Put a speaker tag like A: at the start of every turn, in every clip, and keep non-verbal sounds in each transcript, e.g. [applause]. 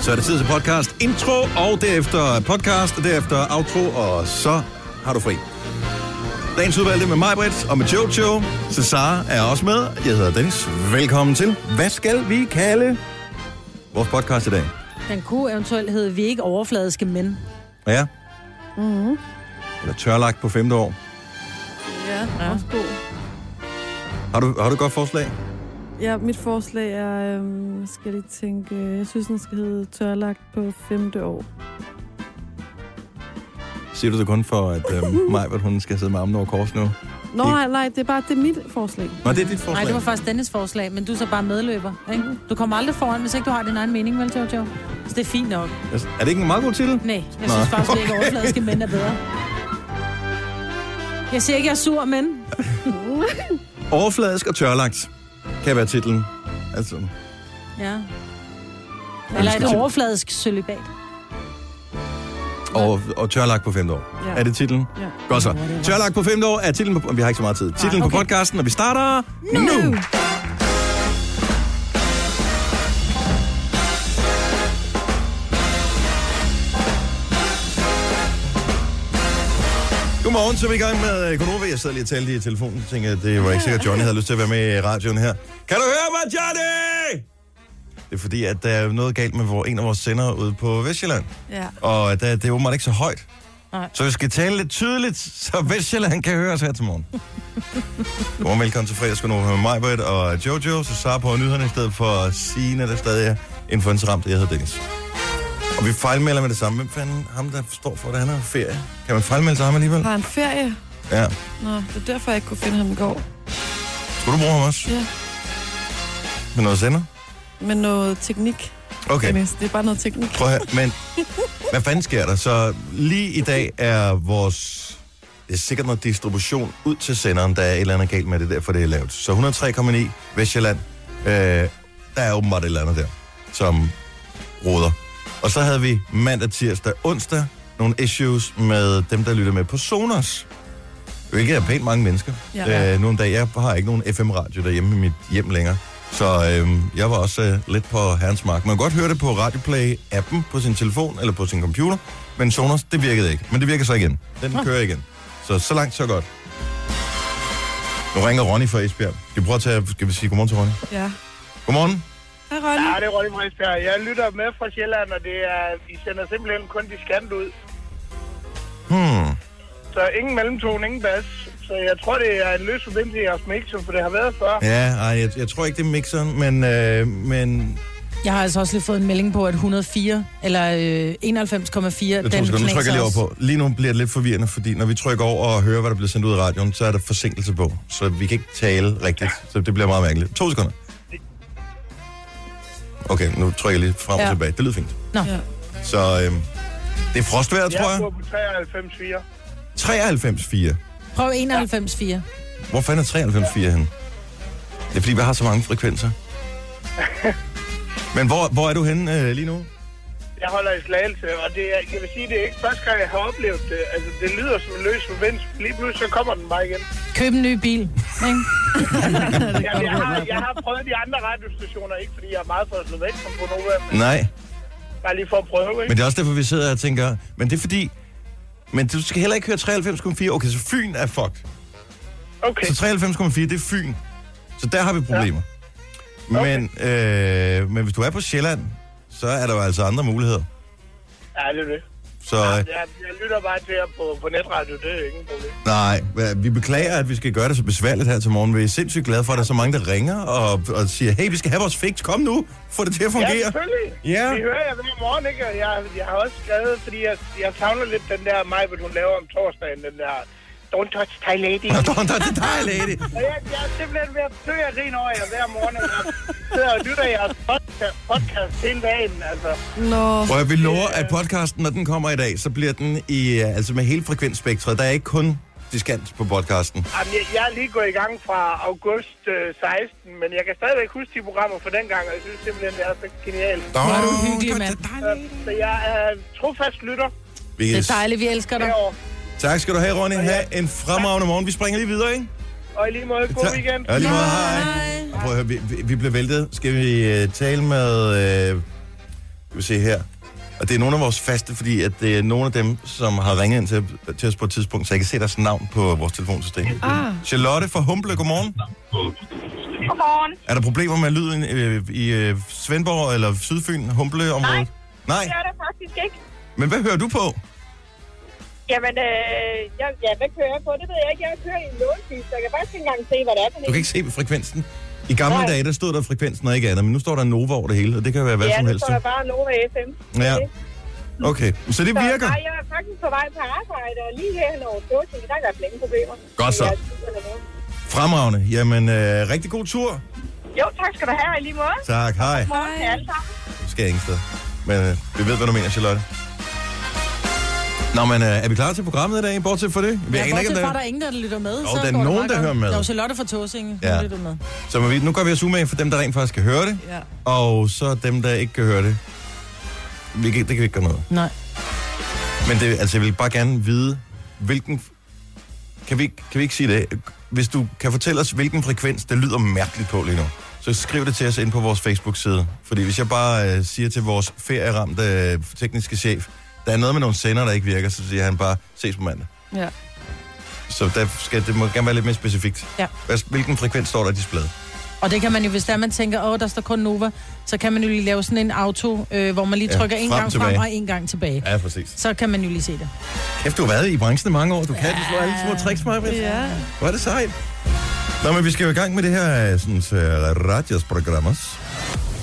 A: Så er det tid til podcast intro, og derefter podcast, og derefter outro, og så har du fri. Dagens udvalgte med mig, Britt, og med Jojo. Cesar er også med. Jeg hedder Dennis. Velkommen til. Hvad skal vi kalde vores podcast i dag?
B: Den kunne eventuelt hedde, vi er ikke overfladiske mænd.
A: Ja. Mm-hmm. Eller tørlagt på femte år.
C: Ja, ja. også god.
A: Har du, har du et godt forslag?
C: Ja, mit forslag er, øhm, skal jeg lige tænke, øh, jeg synes, den skal hedde tørlagt på femte år.
A: Siger du det kun for, at øh, Majbert, hun skal sidde med armen over kors nu?
C: Nå,
A: Det-
C: nej, nej, det er bare det er mit forslag.
A: Nå, det er dit
B: Nej,
A: forslag.
B: det var faktisk Dennis forslag, men du er så bare medløber. Ikke? Du kommer aldrig foran, hvis ikke du har din egen mening, vel, Jojo? Så Mhm. Altså, det er fint nok.
A: Er det ikke en meget god titel?
B: Nej, jeg synes faktisk, [laughs] vi er ikke overfladiske mænd er bedre. Jeg siger ikke, jeg er sur, men...
A: Overfladisk og tørlagt kan være titlen. Altså,
B: Ja. Eller er det overfladisk sølibat?
A: og, og tørlagt på femte år.
C: Ja.
A: Er det titlen?
C: Ja.
A: Godt så. Tørlagt på femte år er titlen på... Vi har ikke så meget tid. Titlen på
B: okay.
A: podcasten, og vi starter nu! Godmorgen, så er vi i gang med øh, Gonova. Jeg sad lige og talte i telefonen. Jeg tænkte, at det var ikke sikkert, at Johnny havde lyst til at være med i radioen her. Kan du høre mig, Johnny? Det er fordi, at der er noget galt med hvor en af vores sendere ude på Vestjylland.
C: Ja.
A: Og der, det er åbenbart ikke så højt.
B: Nej.
A: Så vi skal tale lidt tydeligt, så Vestjylland kan høre os her til morgen. Godmorgen, velkommen til fredagskonova med mig, Britt, og Jojo, så Sara på nyhederne i stedet for Signe, der stadig er influencerramt, og jeg hedder Dennis. Og vi fejlmelder med det samme. Hvem fanden ham, der står for det, han har ferie? Kan man fejlmelde sig ham alligevel?
C: Har en ferie?
A: Ja.
C: Nå, det er derfor, jeg ikke kunne finde ham i går.
A: Skulle du bruge ham også?
C: Ja.
A: Med noget sender?
C: Med noget teknik.
A: Okay.
C: Dennis. Det er bare noget teknik.
A: Prøv at høre, men hvad fanden sker der? Så lige i dag er vores... Det er sikkert noget distribution ud til senderen, der er et eller andet galt med det, derfor det er lavt. Så 103,9 Vestjylland, øh, der er åbenbart et eller andet der, som råder. Og så havde vi mandag, tirsdag, onsdag nogle issues med dem, der lytter med på Sonos. Hvilket er pænt mange mennesker.
C: Ja.
A: Øh, nogle dage, jeg har ikke nogen FM-radio derhjemme i mit hjem længere. Så øh, jeg var også øh, lidt på herrens mark. Man kan godt høre det på Radioplay-appen på sin telefon eller på sin computer. Men Sonos, det virkede ikke. Men det virker så igen. Den kører igen. Så så langt, så godt. Nu ringer Ronny fra Esbjerg. Skal vi prøve at tage... Skal vi sige godmorgen til Ronny?
C: Ja.
A: Godmorgen.
C: Hej, Ronny.
D: Ja, det er Ronny fra Esbjerg. Jeg lytter med fra Sjælland, og det er, I sender simpelthen kun de skant ud.
A: Hmm.
D: Så ingen mellemtone, ingen bas. Så jeg tror, det er en løs forbindelse i jeres mixer, for det har været før.
A: Ja, ej, jeg, jeg tror ikke, det er mixeren, men... Øh, men
B: Jeg har altså også lige fået en melding på, at 104, eller øh, 91,4, den
A: jeg tror, nu trykker jeg lige over på. Lige nu bliver det lidt forvirrende, fordi når vi trykker over og hører, hvad der bliver sendt ud i radioen, så er der forsinkelse på. Så vi kan ikke tale rigtigt, så det bliver meget mærkeligt. To sekunder. Okay, nu trykker jeg lige frem og
B: Ja.
A: tilbage. Det lyder fint.
B: Nå.
C: Ja.
A: Så øh, det er frostvejr, tror
D: Jeg
A: jeg.
D: bor på 93,4.
A: 93,4.
B: Prøv 91,4.
A: Hvor fanden er 93,4 henne? Det er fordi, vi har så mange
B: [laughs]
A: frekvenser. Men hvor, hvor er du henne øh, lige nu?
D: Jeg holder i slagelse, og det er, jeg vil sige, det er ikke første gang, jeg har oplevet det. Altså, det lyder som en løs forbindelse. Lige pludselig, så kommer den bare igen.
B: Køb en ny bil. Ikke?
D: Jamen, jeg, har, jeg har prøvet de andre radiostationer, ikke fordi jeg er meget for at slå væk fra Bonova, men
A: Nej.
D: bare lige for at prøve, ikke?
A: Men det er også derfor, vi sidder her og tænker, men det er fordi, men du skal heller ikke høre 93,4. Okay, så Fyn er fucked.
D: Okay,
A: Så 93,4, det er Fyn. Så der har vi problemer. Ja. Okay. Men, øh, men hvis du er på Sjælland, så er der jo altså andre muligheder.
D: ja, det er det.
A: Så øh,
D: Ja,
A: ja,
D: jeg, jeg lytter bare til jer på, på netradio, det er ingen problem.
A: nej, hva- vi beklager, at vi skal gøre det så besværligt her til morgen. Vi er sindssygt glade for, at der er så mange, der ringer og, og siger, hey, vi skal have vores fix, kom nu, få det til at
D: Ja,
A: fungere.
D: selvfølgelig.
A: Ja.
D: Vi hører jer hver morgen, ikke? Og jeg, jeg har også skrevet, fordi jeg, jeg savner lidt den der Majbet, hun laver om torsdagen, den der Don't touch Thai
A: [laughs]
D: lady.
A: Nå, der er det dig, lady.
D: og jeg, jeg er simpelthen ved at dø af grin over jer hver morgen. og Jeg sidder og lytter jeres podcast, podcast hele dagen, altså.
C: Nå,
A: Prøv at vi lover, at podcasten, når den kommer i dag, så bliver den i, øh, altså med hele frekvensspektret. Der er ikke kun diskant på podcasten.
D: Jamen, jeg, jeg er lige gået i gang fra august øh, 16, men jeg kan stadigvæk huske de programmer fra dengang, og jeg synes simpelthen, det er så genialt.
A: Der
B: Hvor er du hyggelig, mand.
D: Så jeg er trofast lytter
A: Vi,
B: Det er dejligt, vi elsker dig.
D: herovre.
A: tak skal du have, Ronny. Ha' en fremragende morgen. Vi springer lige videre, ikke?
D: Og i lige måde, god
A: Tak.
D: weekend.
A: Ja, lige måde. Hej. Og prøv at høre, vi, vi, vi blev væltet. Skal vi øh, tale med... Øh, Skal vi se her. Og det er nogle af vores faste, fordi at det er nogle af dem, som har ringet ind til, til os på et tidspunkt, så jeg kan se deres navn på vores telefonsystem.
C: Ah.
A: Charlotte fra Humble, godmorgen.
E: Godmorgen.
A: Er der problemer med lyden øh, i øh, Svendborg eller Sydfyn, Humble-området? Nej.
E: Det
A: Nej?
E: er der faktisk ikke.
A: Men hvad hører du på?
E: Jamen, øh, jeg, ja, hvad kører jeg på? Det ved jeg ikke. Jeg kører i en lånbil, så jeg kan faktisk ikke engang se, hvad det er for
A: Du kan ikke se på frekvensen. I gamle
E: Nej.
A: dage, der stod der frekvensen og ikke andet, men nu står der Nova over det hele, og det kan være hvad
E: ja,
A: som
E: nu
A: helst.
E: står der bare Nova FM.
A: Ja.
E: Det.
A: Okay, så det
E: Så,
A: virker.
E: Nej, jeg er faktisk på vej på arbejde, og lige her hen over Dåsen, der er der ingen problemer.
A: Godt så.
E: Jeg er syg eller noget.
A: Fremragende. Jamen, øh, rigtig god tur.
E: Jo, tak skal du have, og i lige måde.
A: Tak, hej.
E: Morgen til alle sammen.
A: Nu skal jeg ingen sted. Men øh, vi ved, hvad du mener, Charlotte. Nå, men øh, er vi klar til programmet i dag, bortset fra det? Vi aner
B: Ja,
A: ikke,
B: bortset
A: om
B: fra, at der
A: det
B: er ingen, der lytter med.
A: der er nogen, der hører med.
B: Der er Charlotte fra Tåsinge,
A: Ja.
B: ja. lytter med.
A: er. Så må vi, nu gør vi os umage for dem, der rent faktisk kan høre det,
C: Ja.
A: og så dem, der ikke kan høre det. Vi kan, det kan vi ikke gøre noget.
B: Nej.
A: Men det, altså, jeg vil bare gerne vide, hvilken... Kan vi, ikke- kan vi ikke sige det? Hvis du kan fortælle os, hvilken frekvens det lyder mærkeligt på lige nu, så skriv det til os ind på vores Facebook-side. Fordi hvis jeg bare øh, siger til vores ferieramte øh, tekniske chef, der er noget med nogle sender, der ikke virker, så siger han bare, ses på mandag.
C: Ja.
A: Så der skal, det må gerne være lidt mere specifikt.
B: Ja.
A: Hvad- Hvilken frekvens står der i displayet?
B: Og det kan man jo, hvis der man tænker, åh, der står kun Nova, så kan man jo lige lave sådan en auto, øh, hvor man lige
A: Ja,
B: trykker en
A: frem
B: gang
A: tilbage.
B: frem og en gang tilbage.
A: Ja, præcis.
B: Så kan man jo lige se det.
A: Kæft, du har været i branchen i mange år. Du kan de små, alle de små tricks, Maja.
C: Ja.
A: Hvor er det sejt. Nå, men vi skal jo i gang med det her øh, sådan, uh, radiosprogrammer.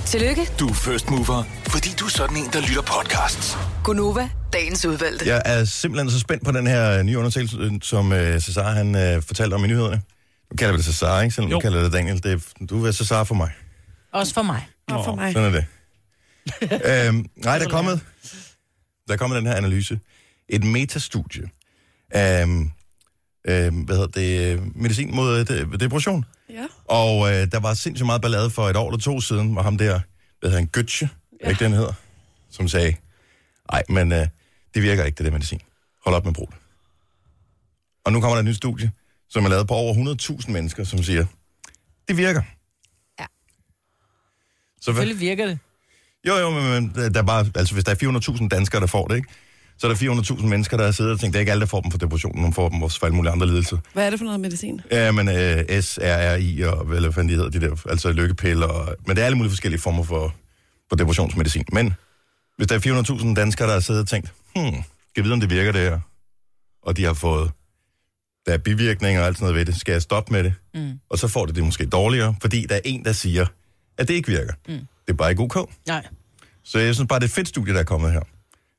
F: Tillykke,
G: Du er first mover, fordi du er sådan en, der lytter podcasts.
F: Gunova, dagens udvalgte.
A: Jeg er simpelthen så spændt på den her øh, nye undersøgelse, øh, som øh, Cesar han øh, fortalte om i nyhederne. Du kalder vi det Cesar, ikke? Selvom jo. du
H: Jo.
A: kalder det Daniel. Det, er- du er Cesar for mig.
B: Også for mig.
C: Og for mig.
A: Sådan er [laughs] det. øhm, nej, der er kommet, der er kommet den her analyse. Et metastudie. Øhm, øhm, hvad hedder det? øh, Medicin mod øh, de- depression.
C: Ja.
A: Og øh, der var sindssygt meget ballade for et år eller to siden, hvor ham der, hvad hedder han, Götze, ja. ikke den hedder, som sagde, nej, men øh, det virker ikke, det der medicin. Hold op med at bruge det. Og nu kommer der et nyt studie, som er lavet på over 100.000 mennesker, som siger, det virker.
F: Ja.
A: Så hvad,
B: Selvfølgelig virker det.
A: jo, jo, men, men der er bare, altså, hvis der er 400.000 danskere, der får det, ikke? så er der 400.000 mennesker, der sidder og tænker, det er ikke alle, der får dem for depression, nogle får dem også for alle mulige andre lidelser.
C: Hvad er det for noget medicin?
A: Ja, men øh, SRRI og hvad eller hvad fanden de hedder, de der, altså lykkepiller, og, men det er alle mulige forskellige former for, for depressionsmedicin. Men hvis der er 400.000 danskere, der har siddet og tænkt, hmm, skal jeg vide, om det virker det her, og de har fået, der er bivirkninger og alt sådan noget ved det, skal jeg stoppe med det? Mm. Og så får det det måske dårligere, fordi der er en, der siger, at det ikke virker. Mm. Det er bare ikke ok.
B: Nej.
A: Så jeg synes bare, det er et fedt studie, der er kommet her.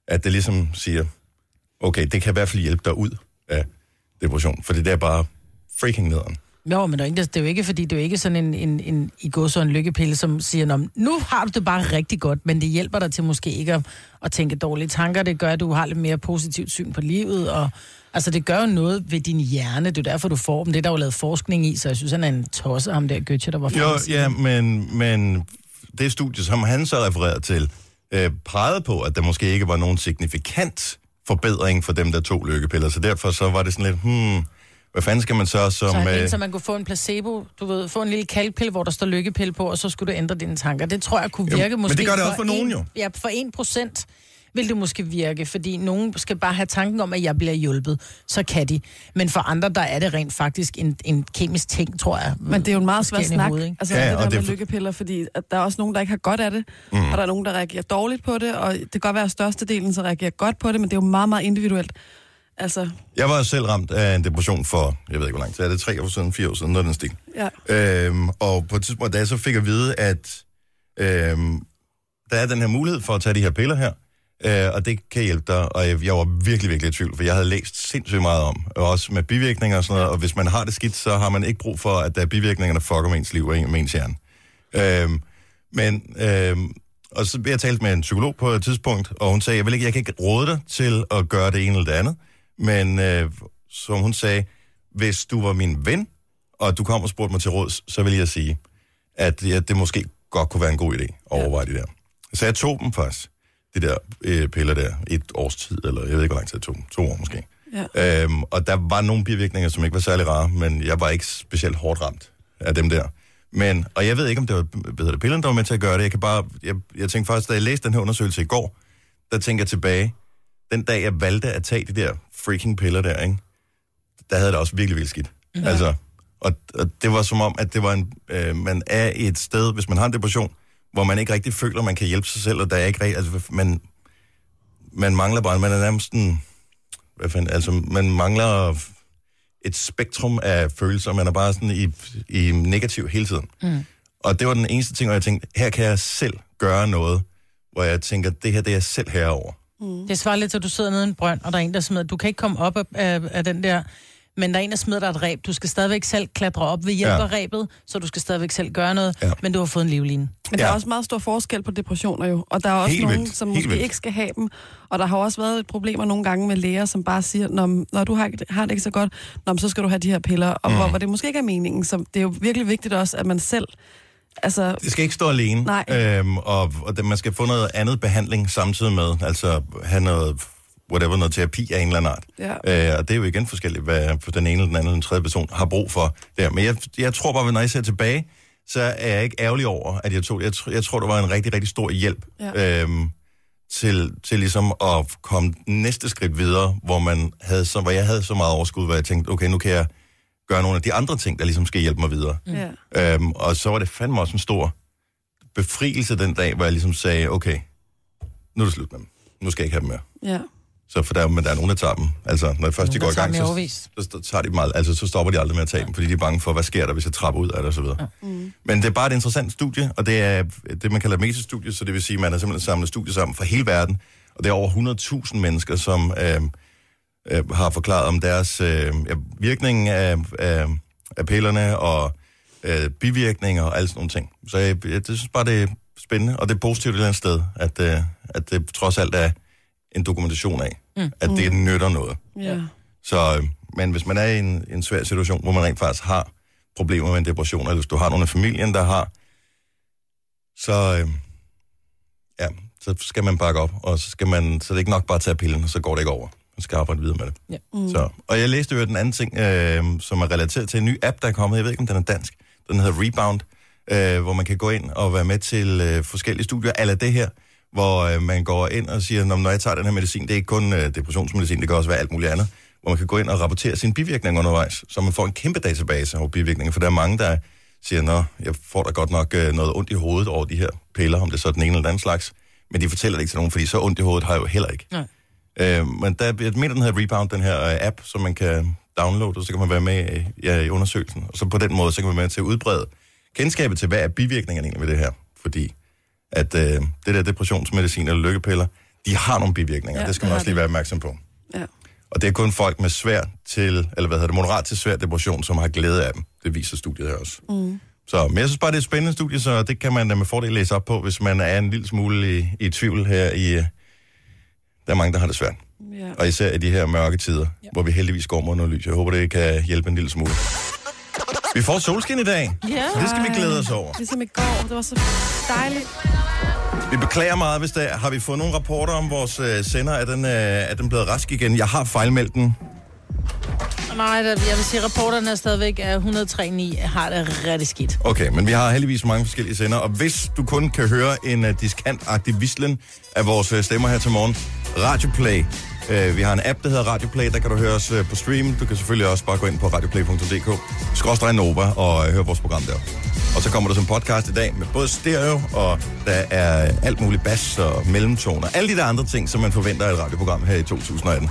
A: At det ligesom siger, okay, det kan i hvert fald hjælpe dig ud af depression, for det er bare freaking nederen.
B: Jo, men der er ikke, det er jo ikke, fordi det er jo ikke sådan en, en, en i går så en lykkepille, som siger, "Nå, men nu har du det bare rigtig godt, men det hjælper dig til måske ikke at, at tænke dårlige tanker. Det gør, at du har lidt mere positivt syn på livet, og altså, det gør jo noget ved din hjerne. Det er jo derfor, du får dem. Det er der jo lavet forskning i, så jeg synes, han er en tosse, ham der Götze, der var
A: Jo,
B: faktisk-
A: ja, men, men det studie, som han så refererede til, øh, pegede på, at der måske ikke var nogen signifikant forbedring for dem, der tog lykkepiller. Så derfor så var det sådan lidt, hmm, hvad fanden skal man så som...
B: Så han mente,
A: øh,
B: så man kunne få en placebo, du ved, få en lille kalkpille, hvor der står lykkepille på, og så skulle du ændre dine tanker. Det tror jeg kunne
A: Jo,
B: virke
A: men
B: måske...
A: det gør det også for nogen
B: en,
A: jo.
B: Ja, for 1 procent vil det måske virke, fordi nogen skal bare have tanken om, at jeg bliver hjulpet, så kan de. Men for andre, der er det rent faktisk en, en kemisk ting, tror jeg.
C: Men det er jo en meget svær
B: Skærende
C: snak,
B: hoved, ikke?
C: altså
A: Ja,
C: ja,
A: og
C: det der
A: det er
C: med
A: for- Mhm.
C: lykkepiller, fordi at der er også nogen, der ikke har godt af det, mm. og der er nogen, der reagerer dårligt på det, og det kan godt være, at størstedelen så reagerer godt på det, men det er jo meget, meget individuelt. Altså,
A: Jeg var selv ramt af en depression for, jeg ved ikke hvor lang tid, er det tre år siden, fire år siden, noget af den stil.
C: ja.
A: Øhm, og på et tidspunkt, da jeg så fik at vide, at øhm, der er den her mulighed for at tage de her piller her, øh, og det kan hjælpe dig, og jeg, jeg var virkelig, virkelig i tvivl, for jeg havde læst sindssygt meget om, og også med bivirkninger og sådan noget, og hvis man har det skidt, så har man ikke brug for, at der er bivirkninger, der fucker med ens liv og en- med ens hjerne. Øhm, men, øhm, og så blev jeg talt med en psykolog på et tidspunkt, og hun sagde, jeg, vil ikke, jeg kan ikke råde dig til at gøre det ene eller det andet, men øh, som hun sagde, hvis du var min ven, og du kom og spurgte mig til råds, så vil jeg sige, at ja, det måske godt kunne være en god idé at overveje det der. Så jeg tog dem faktisk, de der øh, piller der, et års tid, eller jeg ved ikke, hvor lang tid jeg tog dem, to år måske. Ja. Øhm, og der var nogle bivirkninger, som ikke var særlig rare, men jeg var ikke specielt hårdt ramt af dem der. Men, og jeg ved ikke, om det var hvad hedder det, pillerne, der var med til at gøre det. Jeg, kan bare, jeg, jeg tænkte faktisk, da jeg læste den her undersøgelse i går, der tænker jeg tilbage, den dag jeg valgte at tage de der freaking piller der, ikke? der havde det også virkelig vildt skidt. Ja. Altså, og, og det var som om, at det var en, øh, man er i et sted, hvis man har en depression, hvor man ikke rigtig føler, man kan hjælpe sig selv, og der er ikke rigtig, altså, man, man mangler bare, man er nærmest en, hvad fanden, altså, man mangler et spektrum af følelser, man er bare sådan i, i negativ hele tiden. Mm. Og det var den eneste ting, hvor jeg tænkte, her kan jeg selv gøre noget, hvor jeg tænker, det her, det er jeg selv herover.
B: Det svarer lidt til, at du sidder nede i en brønd, og der er en, der smider. Du kan ikke komme op af, af, af den der... Men der er en, der smider dig et ræb. Du skal stadigvæk selv klatre op ved hjælp
A: Ja.
B: ja. af ræbet, så du skal stadigvæk selv gøre noget.
A: Ja.
B: Ja. Men du har fået en livline.
C: Men ja. der
A: Ja.
C: er også meget stor forskel på depressioner jo, og der er også
A: Helt
C: nogen,
A: vildt.
C: som
A: Helt
C: måske
A: vildt.
C: ikke skal have dem. Og der har jo også været et problemer nogle gange med læger, som bare siger, når, når du har, har det ikke så godt, når, så skal du have de her piller, og
A: Mhm.
C: mm. hvor, hvor det måske ikke er meningen. Så det er jo virkelig vigtigt også, at man selv... Altså,
A: Det skal ikke stå alene,
C: Nej.
A: Øhm, og, og det, man skal få noget andet behandling samtidig med, altså have noget, whatever, noget terapi af en eller anden art.
C: Ja.
A: Øh, og det er jo igen forskelligt, hvad den ene eller den anden eller den tredje person har brug for der. Men jeg, jeg tror bare, når jeg ser tilbage, så er jeg ikke ærgerlig over, at jeg tog Jeg, tr- jeg tror, det var en rigtig, rigtig stor hjælp
C: Ja.
A: øhm, til, til ligesom at komme næste skridt videre, hvor, man havde så, hvor jeg havde så meget overskud, hvor jeg tænkte, okay, nu kan jeg gøre nogle af de andre ting, der ligesom skal hjælpe mig videre.
C: ja.
A: Øhm, og så var det fandme også en stor befrielse den dag, hvor jeg ligesom sagde, okay, nu er det slut med dem. Nu skal jeg ikke have dem mere.
C: ja.
A: Så for der, men der er nogen, der tager dem. Altså, når først de
B: Nogen,
A: går i
B: der tager
A: gang,
B: dem i
A: så,
B: årevis.
A: så, så, tager de dem aldrig. Altså, så stopper de aldrig med at tage dem, fordi de er bange for, hvad sker der, hvis jeg trapper ud af det, og så videre. Mm. Men det er bare et interessant studie, og det er det, man kalder et metastudie, så det vil sige, at man har simpelthen samlet studier sammen fra hele verden, og det er over 100.000 mennesker, som øh, øh, har forklaret om deres øh, ja, virkning af, af, af pillerne og øh, bivirkninger og alle sådan nogle ting. Så øh, jeg, jeg det synes bare, det er spændende, og det er positivt et eller andet sted, at, øh, at det trods alt er en dokumentation af, mm. at det nytter noget.
C: ja.
A: Så, øh, men hvis man er i en, en svær situation, hvor man rent faktisk har problemer med en depression, eller hvis du har nogen af familien, der har, så, øh, ja, så skal man bakke op, og så, skal man, så det er ikke nok bare at tage pillen, og så går det ikke over. Man skal arbejde videre med det.
B: Ja.
A: Mm. Så, og jeg læste jo den anden ting, øh, som er relateret til en ny app, der er kommet. Jeg ved ikke, om den er dansk. Den hedder Rebound, øh, hvor man kan gå ind og være med til øh, forskellige studier, eller det her, hvor øh, man går ind og siger, "Nå, når jeg tager den her medicin, det er ikke kun øh, depressionsmedicin, det kan også være alt muligt andet, hvor man kan gå ind og rapportere sine bivirkninger undervejs, så man får en kæmpe database over bivirkninger, for der er mange, der siger, nå, jeg får da godt nok øh, noget ondt i hovedet over de her piller, om det er så den ene eller den anden slags, men de fortæller det ikke til nogen, fordi så ondt i hovedet har jeg jo heller ikke. Øh, men der, jeg mener, den hedder Rebound, den her øh, app, som man kan downloade, og så kan man være med øh, ja, i undersøgelsen. Og så på den måde, så kan man være med til at udbrede kendskabet til, hvad er bivirkningerne egentlig ved det her. Fordi at øh, det der depressionsmedicin eller lykkepiller, de har nogle bivirkninger. Ja,
C: Ja,
A: det skal man
C: det har
A: også lige
C: de.
A: være opmærksom på.
C: ja.
A: Og det er kun folk med svær til, eller hvad hedder det, moderat til svær depression, som har glæde af dem. Det viser studiet her også. Mm. Så, men jeg synes bare, det er et spændende studie, så det kan man da med fordel læse op på, hvis man er en lille smule i, i tvivl her i... øh, Der er mange, der har det svært.
C: ja.
A: Og især i de her mørke tider, ja. hvor vi heldigvis går mod noget lys. Jeg håber, det kan hjælpe en lille smule. Vi får solskin i dag,
B: Ja.
A: så det skal vi glæde os over.
C: Ligesom i går, det var så dejligt.
A: Vi beklager meget, hvis der har vi fået nogle rapporter om vores øh, sender. Er den, øh, er den blevet rask igen? Jeg har fejlmeldt den.
B: Nej, der, jeg vil sige, at reporterne er stadigvæk af 103.9 har det rigtig skidt.
A: Okay, men vi har heldigvis mange forskellige sender. Og hvis du kun kan høre en uh, diskantagtig vislen af vores øh, stemmer her til morgen, Radioplay. Uh, vi har en app, der hedder Radioplay. Der kan du høre os uh, på stream. Du kan selvfølgelig også bare gå ind på radioplay.dk. Skråstrej Nova og uh, høre vores program der. Og så kommer der som podcast i dag med både stereo, og der er alt muligt bass og mellemtoner. Alle de der andre ting, som man forventer af et radioprogram her i 2018.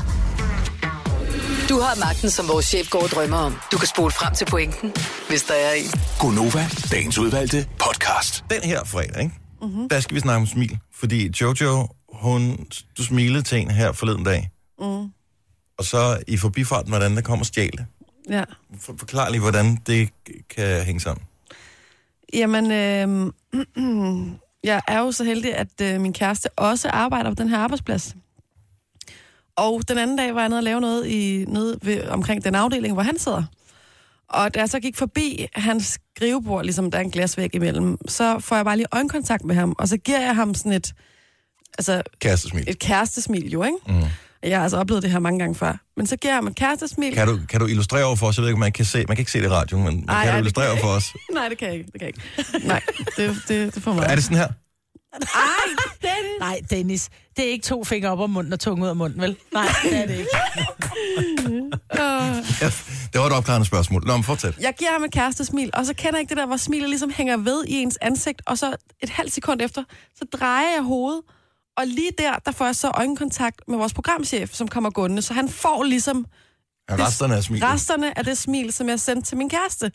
F: Du har magten, som vores chef går og drømmer om. Du kan spole frem til pointen, hvis der er en.
G: Gonova, dagens udvalgte podcast.
A: den her fredag, ikke? Mm-hmm. der skal vi snakke om smil. Fordi Jojo, hun, du smilede til en her forleden dag. Mm. Og så i forbifarten, hvordan der kommer stjæle.
C: Ja.
A: For, forklar lige, hvordan det kan hænge sammen.
C: Jamen, øh, [clears throat] jeg er jo så heldig, at øh, min kæreste også arbejder på den her arbejdsplads. Og den anden dag var jeg nede og lave noget i, nede ved, omkring den afdeling, hvor han sidder. Og da jeg så gik forbi hans skrivebord, ligesom der er en glasvæg imellem, så får jeg bare lige øjenkontakt med ham, og så giver jeg ham sådan et, altså
A: Kærestesmil.
C: et kærestesmil jo, ikke? Mm. Jeg har altså oplevet det her mange gange før. Men så giver jeg ham et kærestesmil.
A: Kan du, kan du illustrere over for os? Jeg ved ikke, om man kan se, man kan ikke se det i radioen, men
C: Ej,
A: kan
C: ej,
A: du
C: det
A: illustrere
C: kan
A: over for os?
C: Nej, det kan jeg ikke. Det kan jeg ikke. Nej, det, det, det får mig.
A: Er det sådan her?
C: Ej, Dennis!
B: Nej, Dennis, det er ikke to fingre op om munden og tunge ud af munden, vel? Nej, [laughs] det er det ikke.
A: Ja, det var et opklarende spørgsmål. Nå, men fortsæt.
C: Jeg giver ham et kærestesmil, og så kender jeg ikke det der, hvor smilet ligesom hænger ved i ens ansigt, og så et halvt sekund efter, så drejer jeg hovedet, og lige der, der får jeg så øjenkontakt med vores programchef, som kommer gående, så han får ligesom
A: Ja, Resterne af smilet.
C: resterne af det smil, som jeg sendte til min kæreste.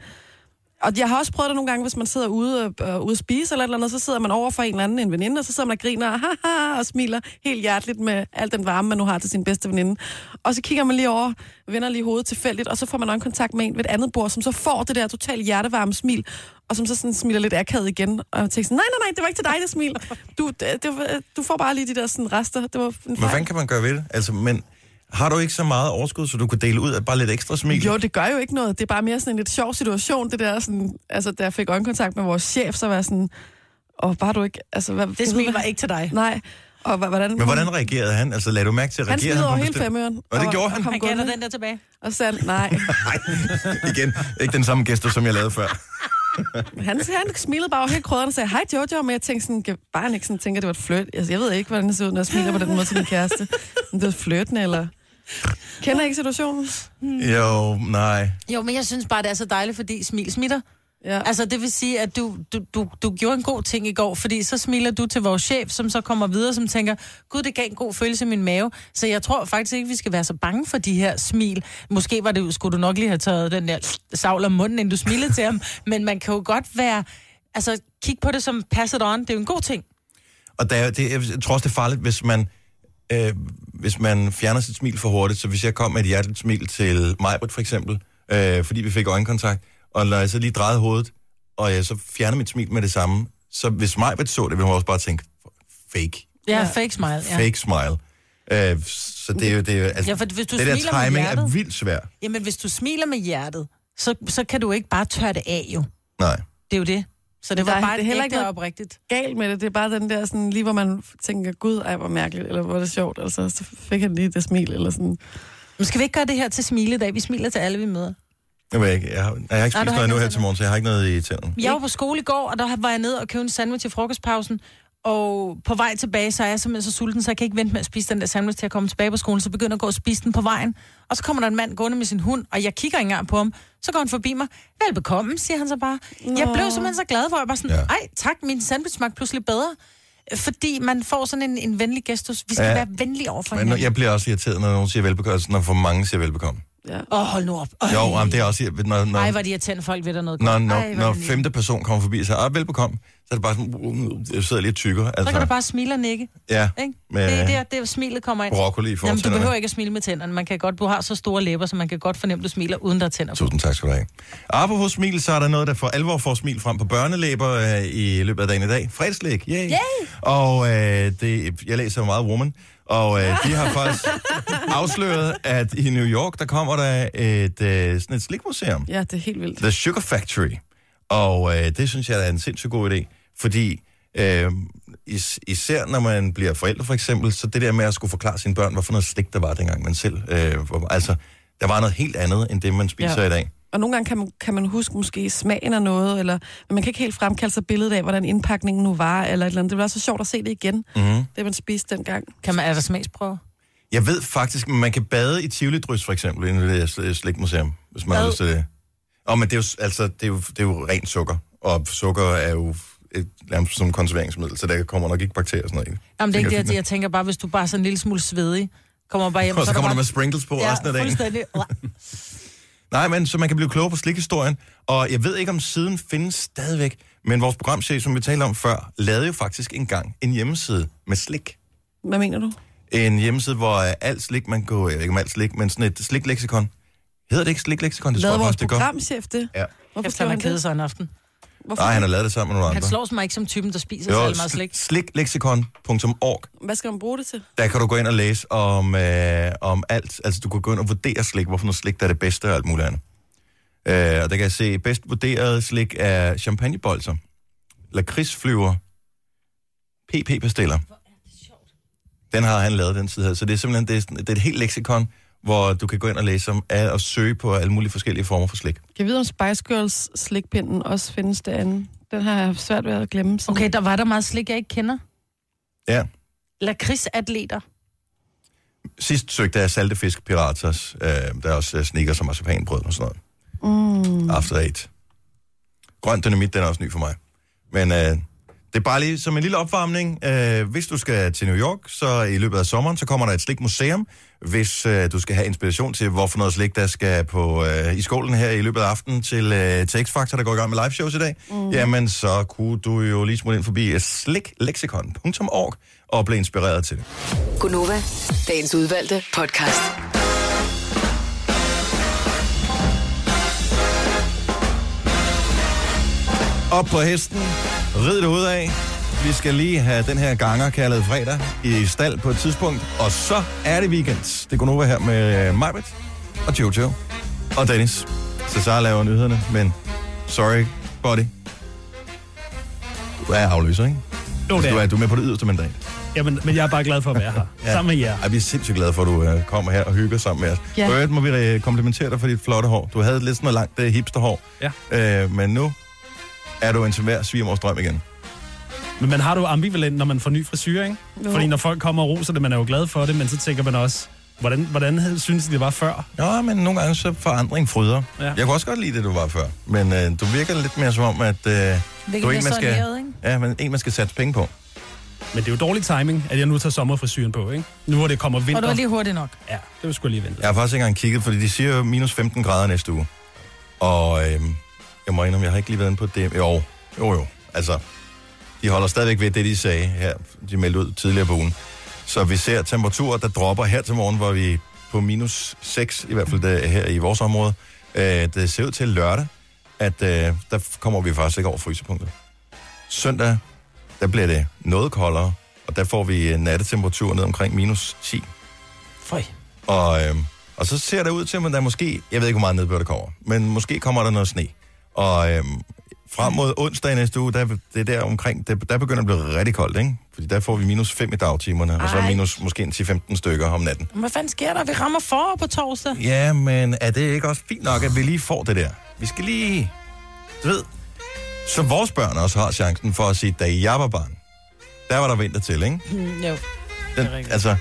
C: Og jeg har også prøvet det nogle gange, hvis man sidder ude og øh, ude at spise eller et eller andet, så sidder man over for en eller anden en veninde, og så sidder man og griner [laughs] haha, og smiler helt hjerteligt med al den varme, man nu har til sin bedste veninde. Og så kigger man lige over, vender lige hovedet tilfældigt, og så får man øjenkontakt med en ved et andet bord, som så får det der totalt hjertevarme smil, og som så sådan smiler lidt akavet igen, og jeg tænker sådan, nej, nej, nej, det var ikke til dig, det smil. Du, det, det, var- du får bare lige de der sådan rester. Det var en
A: Men
C: fejl."
A: hvad kan man gøre ved det? Altså, men har du ikke så meget overskud, så du kunne dele ud af bare lidt ekstra smil?
C: Jo, det gør jo ikke noget. Det er bare mere sådan en lidt sjov situation, det der sådan... Altså, da jeg fik øjenkontakt med vores chef, så var jeg sådan... Og var du ikke... Altså, hvad,
B: Det smil var ikke til dig.
C: Nej. Og hva- hvordan...
A: Men hvordan reagerede han? Altså, lagde du mærke til, at
C: Han
A: reagerede
C: smidte
A: på
C: over
A: en
C: hele
A: bestemt-
C: femøren.
A: Og det gjorde han?
C: Og,
B: Han gav
C: kom
B: dig
C: gående,
B: den der tilbage.
C: og sagde, nej.
A: Nej, [laughs] igen. Ikke den samme gæster, som jeg lavede før.
C: Han, han smilede bare over hele krødderen og sagde, hej Jojo, men jeg tænkte sådan, kan- bare han ikke sådan tænker, det var et flirt. Altså, jeg ved ikke, hvordan det ser ud, når jeg smiler på den måde til min kæreste. Men det var flirtende, eller... Kender I ikke situationen?
A: Jo, nej.
B: Jo, men jeg synes bare, det er så dejligt, fordi smil smitter.
C: Ja.
B: Altså, det vil sige, at du, du, du, du gjorde en god ting i går, fordi så smiler du til vores chef, som så kommer videre, som tænker, gud, det gav en god følelse i min mave. Så jeg tror faktisk ikke, vi skal være så bange for de her smil. Måske var det, skulle du nok lige have taget den der savl om munden, inden du smilede til
C: [laughs]
B: ham. Men man kan jo godt være... Altså, kig på det som pass it on. Det er jo en god ting.
A: Og der, er- det, jeg tror også, det er farligt, hvis man, øh, hvis man fjerner sit smil for hurtigt. Så hvis jeg kom med et hjerteligt smil til Majbrit for eksempel, øh, fordi vi fik øjenkontakt, og når jeg så lige drejede hovedet, og jeg så fjerner mit smil med det samme, så hvis Majbrit så det, ville hun også bare tænke, fake,
B: Ja,
C: Ja.
B: fake smile. Ja.
A: fake smile. Øh, så det er jo, det er jo altså,
B: Ja, for hvis du
A: det der
B: smiler med
A: timing er
B: hjertet-
A: vildt svært.
B: Jamen, hvis du smiler med hjertet, så, så kan du ikke bare tørre det af, jo.
A: Nej.
B: Det er jo det. Så det
C: Der
B: var
C: er-
B: bare
C: det er heller ikke
B: ægte
C: noget-
B: oprigtigt.
C: galt med det. Det er bare den der, sådan, lige hvor man tænker, gud, ej, hvor mærkeligt, eller hvor er det sjovt, altså, så fik han lige det smil, eller sådan.
B: Men skal vi ikke gøre det her til smiledag? Vi smiler til alle, vi møder.
A: Jeg, ved ikke, jeg, har, jeg har ikke
B: Nej,
A: spist
B: du
A: noget
B: har ikke
A: endnu her
B: noget
A: til morgen, så jeg har ikke noget i tænderne.
B: Jeg var på skole i går, og der var jeg nede og købte en sandwich i frokostpausen. Og på vej tilbage, så er jeg simpelthen så sulten, så jeg kan ikke vente med at spise den der sandwich til at komme tilbage på skolen. Så jeg begynder at gå og spise den på vejen. Og så kommer der en mand gående med sin hund, og jeg kigger ikke engang på ham. Så går han forbi mig. Velbekomme, siger han så bare. Nå. Jeg blev simpelthen så glad for, at jeg bare sådan,
A: Ja.
B: ja. ej tak, min sandwich smagte pludselig bedre. Fordi man får sådan en, en venlig gestus. Vi skal
A: Ja.
B: ja. være venlige overfor
A: Men når-
B: hinanden.
A: jeg bliver også irriteret, når nogen siger velbekomme, altså, når for mange siger velbekomme.
B: Åh, oh, hold nu op. Øj.
A: Jo, jamen, det er også... irri- Når, når,
B: Ej, hvor de irriterende folk ved der noget
A: når,
B: godt.
A: når,
B: Ej, hvor
A: når
B: det
A: femte person kommer forbi og siger, ah, velbekomme, så er det bare sådan, uh, uh, jeg sidder lidt tykkere. Altså,
B: Så kan du bare smile og nikke.
A: ja,
B: Ikke?
A: med
B: Det er der, det er smilet kommer ind.
A: broccoli i
B: Jamen, du
A: fortænderne.
B: behøver ikke at smile med tænderne. Man kan godt, du har så store læber, så man kan godt fornemme, at du smiler, uden der er tænder på.
A: Tusind tak skal du have. Apropos smil, så er der noget, der for alvor får smil frem på børnelæber øh, i løbet af dagen i dag. Fredslæg, yay! yay! Og øh, det, jeg læser meget Woman, og øh, de har
C: [laughs]
A: faktisk afsløret, at i New York, der kommer der et, øh, sådan et slikmuseum.
C: Ja, det er helt vildt.
A: The Sugar Factory. Og øh, det synes jeg er en sindssygt god idé, fordi øh, is- især når man bliver forældre for eksempel, så det der med at skulle forklare sine børn, hvorfor noget slik der var dengang man selv... Øh, var- altså, der var noget helt andet end det, man spiser ja.
C: Ja.
A: i dag.
C: Og nogle gange kan man, kan man huske måske smagen af noget, eller, men man kan ikke helt fremkalde sig billedet af, hvordan indpakningen nu var, eller et eller andet. Det bliver også så sjovt at se det igen,
A: Mhm.
C: mm-hmm. det man spiste dengang.
B: Kan man, er der smagsprøver?
A: Jeg ved faktisk, at man kan bade i Tivoli Drys for eksempel, inden det der sl- slikmuseum, hvis man har
B: Hvad?
A: lyst til det. Og, men det er, jo, s- altså, det, er jo, det er jo rent sukker, og sukker er jo et, nærmest som konserveringsmiddel, så der kommer nok ikke bakterier og sådan noget. i.
B: Jamen,
A: Tænker
B: det er ikke
A: jeg
B: det, jeg, jeg tænker bare, hvis du bare er sådan en lille smule svedig, kommer bare hjem,
A: Og så
B: er
A: kommer
B: bare...
A: der med sprinkles på resten af
B: ja,
A: dagen. [laughs]
B: fuldstændig.
A: Nej, men så man kan blive klogere på slikhistorien. Og jeg ved ikke, om siden findes stadigvæk, men vores programchef, som vi talte om før, lavede jo faktisk engang en hjemmeside med slik.
C: Hvad mener du? en
A: En hjemmeside, hvor øh, alt slik, man kan, jeg ved ikke om alt slik, men sådan et slikleksikon. Hedder det ikke slikleksikon? Det
C: Lavede
A: jeg
C: vores
A: faktisk, det gør.
C: programchef det?
A: Ja.
C: Hvorfor
B: Efter
C: slår
B: han
C: han
B: er kede
C: det?
B: sig en aften.
C: Hvorfor?
A: Nej, han har lavet det sammen med nogle
B: Han
A: andre.
B: slår mig ikke som typen, der spiser
A: jo,
B: særlig meget slik.
A: sl- slikleksikon.org.
C: Hvad skal man bruge det til?
A: Der kan du gå ind og læse om, øh, om alt. Altså, du kan gå ind og vurdere slik, hvorfor noget slik, der er det bedste og alt muligt andet. Øh, og der kan jeg se, bedst vurderet slik er champagnebolser, lakridsflyver, pp-pastiller, Den har han lavet, den side her. Så det er simpelthen det er, sådan- det er et helt leksikon, hvor du kan gå ind og læse om al- og søge på alle mulige forskellige former for slik.
C: Kan jeg vide, om Spice Girls slikpinden også findes derinde? Den har jeg haft svært ved at glemme. Sådan.
B: Okay, der var der meget slik, jeg ikke kender.
A: Ja.
B: Lakridsatleter.
A: Sidst søgte jeg saltefisk piratas. Øh, der er også øh, sneakers som marcipanbrød og sådan noget. Mm. After eight. Grøn dynamit, den er også ny for mig. Men øh, det er bare lige som en lille opvarmning. Øh, hvis du skal til New York, så i løbet af sommeren, så kommer der et slikmuseum. Hvis øh, du skal have inspiration til, hvorfor noget slik, der skal på øh, i skolen her i løbet af aftenen til, øh, til X-Factor, der går i gang med live shows i dag, mm. jamen så kunne du jo lige smutte ind forbi øh, sliklexikon.org og blive inspireret til det.
F: Gunova, dagens udvalgte podcast.
A: Op på hesten, rid det af. Vi skal lige have den her ganger kaldet fredag i stald på et tidspunkt. Og så er det weekend. Det går nu her med Majbet og Jojo og Dennis. Cesar laver nyhederne, men sorry, buddy. Du er afløser, ikke? Altså,
H: Jo, det
A: Du
H: er.
A: er, du er med på det yderste mandat.
H: Jamen, men jeg er bare glad for at være her.
A: Ja.
H: ja. Sammen med jer.
A: Ej, vi er sindssygt glade for, at du øh, kommer her og hygger sammen med os.
C: Ja.
A: Ja. må vi øh, komplimentere dig for dit flotte hår. Du havde lidt sådan noget langt øh, hipsterhår.
H: Ja.
A: Øh, men nu er du en til hver svigermors drøm igen.
H: Men man har det jo ambivalent, når man får ny frisyr, ikke?
C: Jo.
H: Jo. Fordi når folk kommer og roser det, man er jo glad for det, men så tænker man også, hvordan, hvordan havde- synes de, det var før?
A: Ja, men nogle gange så forandring fryder. Ja.
H: Ja.
A: Jeg kunne også godt lide det, du var før. Men øh, du virker lidt mere som om, at øh, du er
B: mere
A: en, man
B: soigneret,
A: skal,
B: ikke?
A: ja, men en, man skal satse penge på.
H: Men det er jo dårlig timing, at jeg nu tager sommerfrisyren på, ikke? Nu hvor det kommer
B: Og
H: vinter.
B: det var lige hurtigt nok.
H: Ja, det var sgu lige ventet.
A: Jeg har faktisk ikke engang kigget, fordi de siger jo minus 15 grader næste uge. Og øh, jeg må indrømme, jeg har ikke lige været inde på det. Jo, jo, jo. Altså, de holder stadigvæk ved det, de sagde her. De meldte ud tidligere på ugen. Så vi ser temperaturer, der dropper her til morgen, hvor vi er på minus 6, i hvert fald det, her i vores område. Øh, det ser ud til lørdag, at øh, der kommer vi faktisk ikke over frysepunktet. Søndag, der bliver det noget koldere, og der får vi øh, nattetemperaturer ned omkring minus 10.
B: Føj.
A: Og, øhm, og så ser det ud til, at der måske, jeg ved ikke, hvor meget nedbør der kommer, men måske kommer der noget sne. Og øhm, frem mod onsdag i næste uge, der, det er der omkring, der, der begynder det at blive rigtig koldt, ikke? Fordi der får vi minus 5 i dagtimerne, Ej. og så
B: Ej.
A: minus måske en 10-15 stykker om natten.
B: Men Hvad fanden sker der? Vi rammer forår på torsdag.
A: Ja, men er det ikke også fint nok, at vi lige får det der? Vi skal lige... Du ved, så vores børn også har chancen for at sige, da jeg var barn, der var der vinter til, ikke?
B: Mm, jo.
A: Den,
B: Det er rigtigt.
A: altså,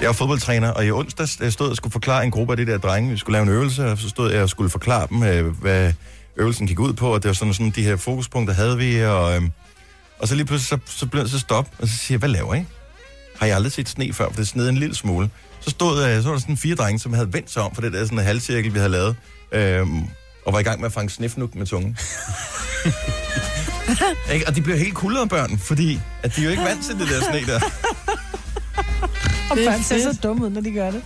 A: jeg er fodboldtræner, og i onsdags øh, stod jeg og skulle forklare en gruppe af de der drenge, vi skulle lave en øvelse, og så stod jeg og skulle forklare dem, øh, hvad øvelsen gik ud på, og det var sådan, sådan de her fokuspunkter havde vi, og, øhm, og så lige pludselig så, så blev jeg så stop, og så siger jeg, hvad laver I? Har jeg aldrig set sne før, for det sned en lille smule. Så stod øh, så var der sådan fire drenge, som havde vendt sig om for det der sådan halvcirkel, vi havde lavet, øhm, og var i gang med at fange snifnuk med
B: [laughs]
A: tungen. Ikke? Og de blev helt kuldede børn, fordi at de er jo ikke vant til det der sne der.
B: Og
C: Det er
B: børn ser
C: fedt.
B: så dumme ud, når de gør det.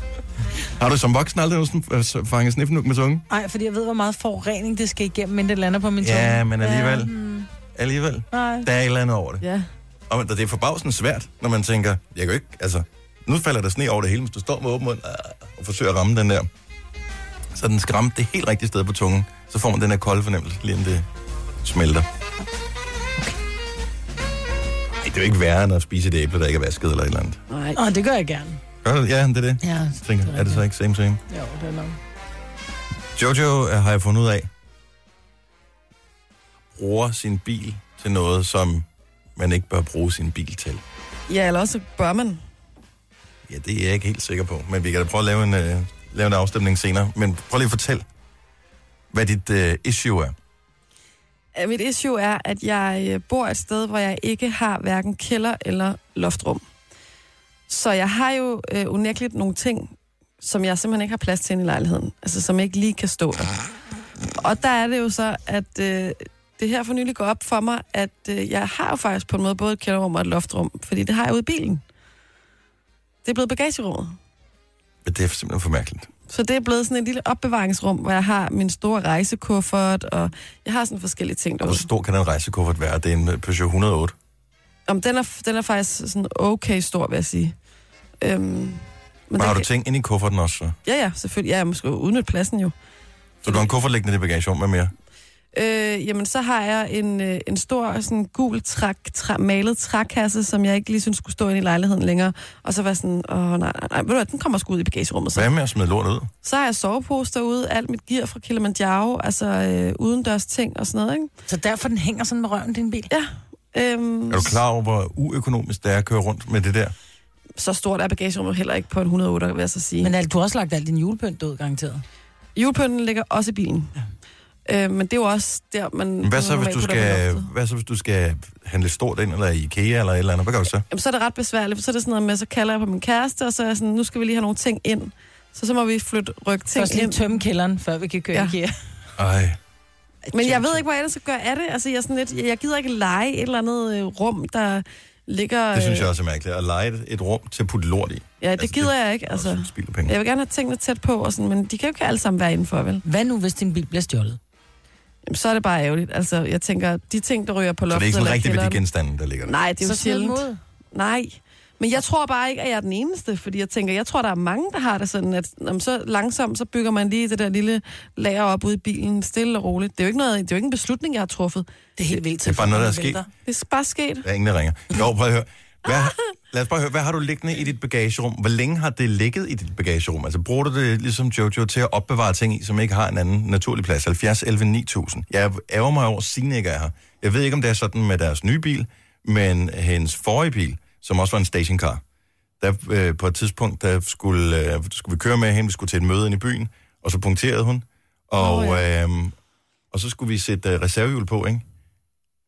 A: Har du som voksen aldrig nogensinde, øh, så- fanget snifnuk med tunge?
B: Nej, fordi jeg ved, hvor meget forurening det skal igennem, inden det lander på min tunge.
A: Ja, men alligevel.
B: Ja, mm,
A: Alligevel.
B: nej.
A: Der er et eller andet over det.
C: Ja.
A: Og men det er forbavsende svært, når man tænker, jeg kan jo ikke, altså, nu falder der sne over det hele, hvis du står med åben mund øh, og forsøger at ramme den der. Så den skal ramme det helt rigtige sted på tungen. Så får man den her kolde fornemmelse, lige inden det smelter. Ej, det er jo ikke værre, end at spise et æble, der ikke er vasket eller et eller andet.
C: Nej.
B: Åh, det gør jeg gerne.
A: Gør det? Ja, det er det.
B: Ja,
A: Jeg tænker, er det så ikke same same?
B: rigtigt. Jo, det er nok.
A: Jojo øh, har jeg fundet ud af, bruger sin bil til noget, som man ikke bør bruge sin bil til.
C: Ja, eller også bør man.
A: Ja, det er jeg ikke helt sikker på, men vi kan da prøve at lave en, øh, lave en afstemning senere. Men prøv lige at fortælle, hvad dit øh, issue er.
C: Øh, Mit issue er, at jeg øh, bor et sted, hvor jeg ikke har hverken kælder eller loftrum. Så jeg har jo øh, unægteligt nogle ting, som jeg simpelthen ikke har plads til inde i lejligheden. Altså, som ikke lige kan stå der. Og der er det jo så, at øh, det her for nylig går op for mig, at øh, jeg har jo faktisk på en måde både et kælderrum og et loftrum, fordi det har jeg ude i bilen. Det er blevet bagagerummet.
A: Men det er simpelthen for mærkeligt.
C: Så det er blevet sådan et lille opbevaringsrum, hvor jeg har min store rejsekuffert, og jeg har sådan forskellige ting
A: Hvor
C: derude.
A: stor kan den rejsekuffert være? Det er en øh, Peugeot 108.
C: Om den er, den er faktisk sådan okay stor, vil jeg sige. Øhm, men den
A: Men har du
C: kan-
A: ting ind i kufferten også? så?
C: Ja, ja, selvfølgelig. Ja, jeg måske udnytte pladsen jo.
A: Så du har en kuffert liggende i bagagerummet med mere?
C: Øh, jamen, så har jeg en, øh, en stor sådan, gul træk, træ, malet trækasse, som jeg ikke lige synes skulle stå inde i lejligheden længere. Og så var jeg sådan, åh nej, nej, nej, ved du hvad, den kommer sgu ud i bagagerummet. Så.
A: Hvad med at smide lort ud?
C: så har jeg sovepose derude, alt mit gear fra Kilimanjaro, altså øh, udendørs ting og sådan noget, ikke?
B: Så derfor den hænger sådan med røven, din bil.
C: Ja. Øhm,
A: Er du klar over, hvor uøkonomisk det er at køre rundt med det der?
C: Så stort er bagagerummet heller ikke på en 108, vil jeg så sige.
B: Men
C: Men
B: al- du har også lagt al din julepynt ud, garanteret.
C: julepynten ligger også i bilen. Ja. Øh, men det er jo også der, man...
A: Men Hvad så,
C: man
A: hvis du
C: normalt putter den i
A: skal,
C: loftet.
A: hvad så, hvis du skal handle stort ind, eller i IKEA, eller et eller andet? Hvad gør du så?
C: Jamen, så er det ret besværligt, for så er det sådan noget med, så kalder jeg på min kæreste, og så er jeg sådan, nu skal vi lige have nogle ting ind. Så så må vi flytte rykke ting
B: Først lige
C: ind.
B: tømme kælderen, før vi kan køre ja.
C: Ja.
B: IKEA.
A: Ej,
C: Men jeg ved ikke, hvad jeg ellers skal gøre af det. Altså, jeg, er sådan lidt, jeg gider ikke lege et eller andet øh, rum, der ligger...
A: det synes jeg
C: øh,
A: også er mærkeligt. At lege et- et rum til at putte lort i.
C: Ja, det
A: Altså,
C: gider
A: det-
C: jeg ikke,
A: Altså,
C: altså.
A: spild af penge.
C: Jeg vil gerne have tingene tæt på, og sådan, men de kan jo ikke alle sammen være indenfor, vel?
B: Hvad nu, hvis din bil bliver stjålet?
C: Jamen, så er det bare ærgerligt. Altså, jeg tænker, de ting, der ryger på
A: Så det er
C: loftet
A: ikke sådan
C: eller i
A: rigtig
C: kælderen-
A: værdigenstande, der ligger der.
C: Nej, det er jo
B: så smid dem
C: sjældent.
B: ud.
C: Nej. Men jeg tror bare ikke, at jeg er den eneste, fordi jeg tænker, jeg tror, der er mange, der har det sådan, at om så langsomt, så bygger man lige det der lille lager op ude i bilen, stille og roligt. Det er jo ikke, noget, det er jo ikke en beslutning, jeg har truffet.
B: Det er helt vildt.
A: Det er bare noget, der er
B: telefonen
A: sket.
B: vælter.
C: Det er bare sket.
A: Der er ingen, der ringer. Jo, prøv at høre. Hvad, lad os bare høre, hvad har du liggende i dit bagagerum? Hvor længe har det ligget i dit bagagerum? Altså, bruger du det ligesom Jojo til at opbevare ting i, som ikke har en anden naturlig plads? 70, 11, 9000. Jeg ærger mig over, at Signe ikke er her. Jeg ved ikke, om det er sådan med deres nye bil, men hendes forrige bil, som også var en stationcar, der øh, på et tidspunkt, der skulle, øh, skulle vi køre med hende, vi skulle til et møde ind i byen, og så punkterede hun, og, oh,
C: Nå,
A: ja. øh, og så skulle vi sætte øh, reservehjul på, ikke?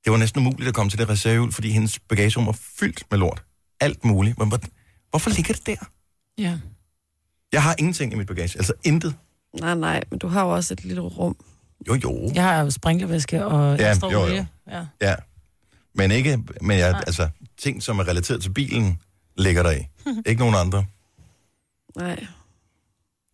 A: Det var næsten umuligt at komme til det reservehjul, fordi hendes bagagerum var fyldt med lort. Alt muligt. Men hvor, hvorfor ligger det der?
B: Ja.
A: Jeg har ingenting i mit bagage. Altså intet.
C: Nej, nej, men du har jo også et lille rum.
A: Jo, jo. Ja.
B: Jeg har jo sprinklervæske og
A: Ja,
B: ja, ekstra
A: jo, jo.
B: olie. Ja.
A: ja. Men ikke, men jeg, altså, ting, som er relateret til bilen, ligger der i. ikke nogen andre.
C: Nej.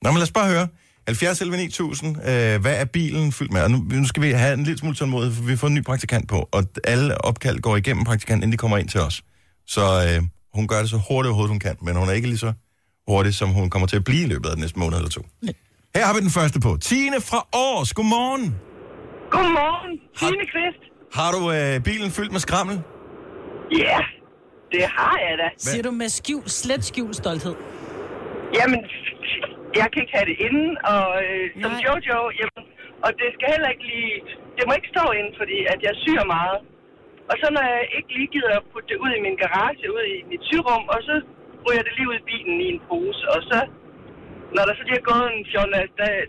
A: Nå, men lad os bare høre. 70 11 9000, øh, hvad er bilen fyldt med? Og nu, nu skal vi have en lille smule tålmodighed, for vi får en ny praktikant på, og alle opkald går igennem praktikanten, inden de kommer ind til os. Så øh, hun gør det så hurtigt overhovedet, hun kan, men hun er ikke lige så hurtig, som hun kommer til at blive i løbet af den næste måned eller to. Her har vi den første på. Tine fra Aarhus, godmorgen.
G: Godmorgen, Tine Kvist.
A: Har du øh, bilen fyldt med skrammel?
G: Ja, det har jeg da.
B: Siger du med skjul, slet skjul stolthed?
G: Jamen, jeg kan ikke have det inden, og øh, som
C: Nej.
G: Jojo, jamen, og det skal heller ikke lige, det må ikke stå inden, fordi at jeg syr meget. Og så når jeg ikke lige gider at putte det ud i min garage, ud i mit syrum, og så ryger det lige ud i bilen i en pose, og så, når der så lige er gået en 14 dag,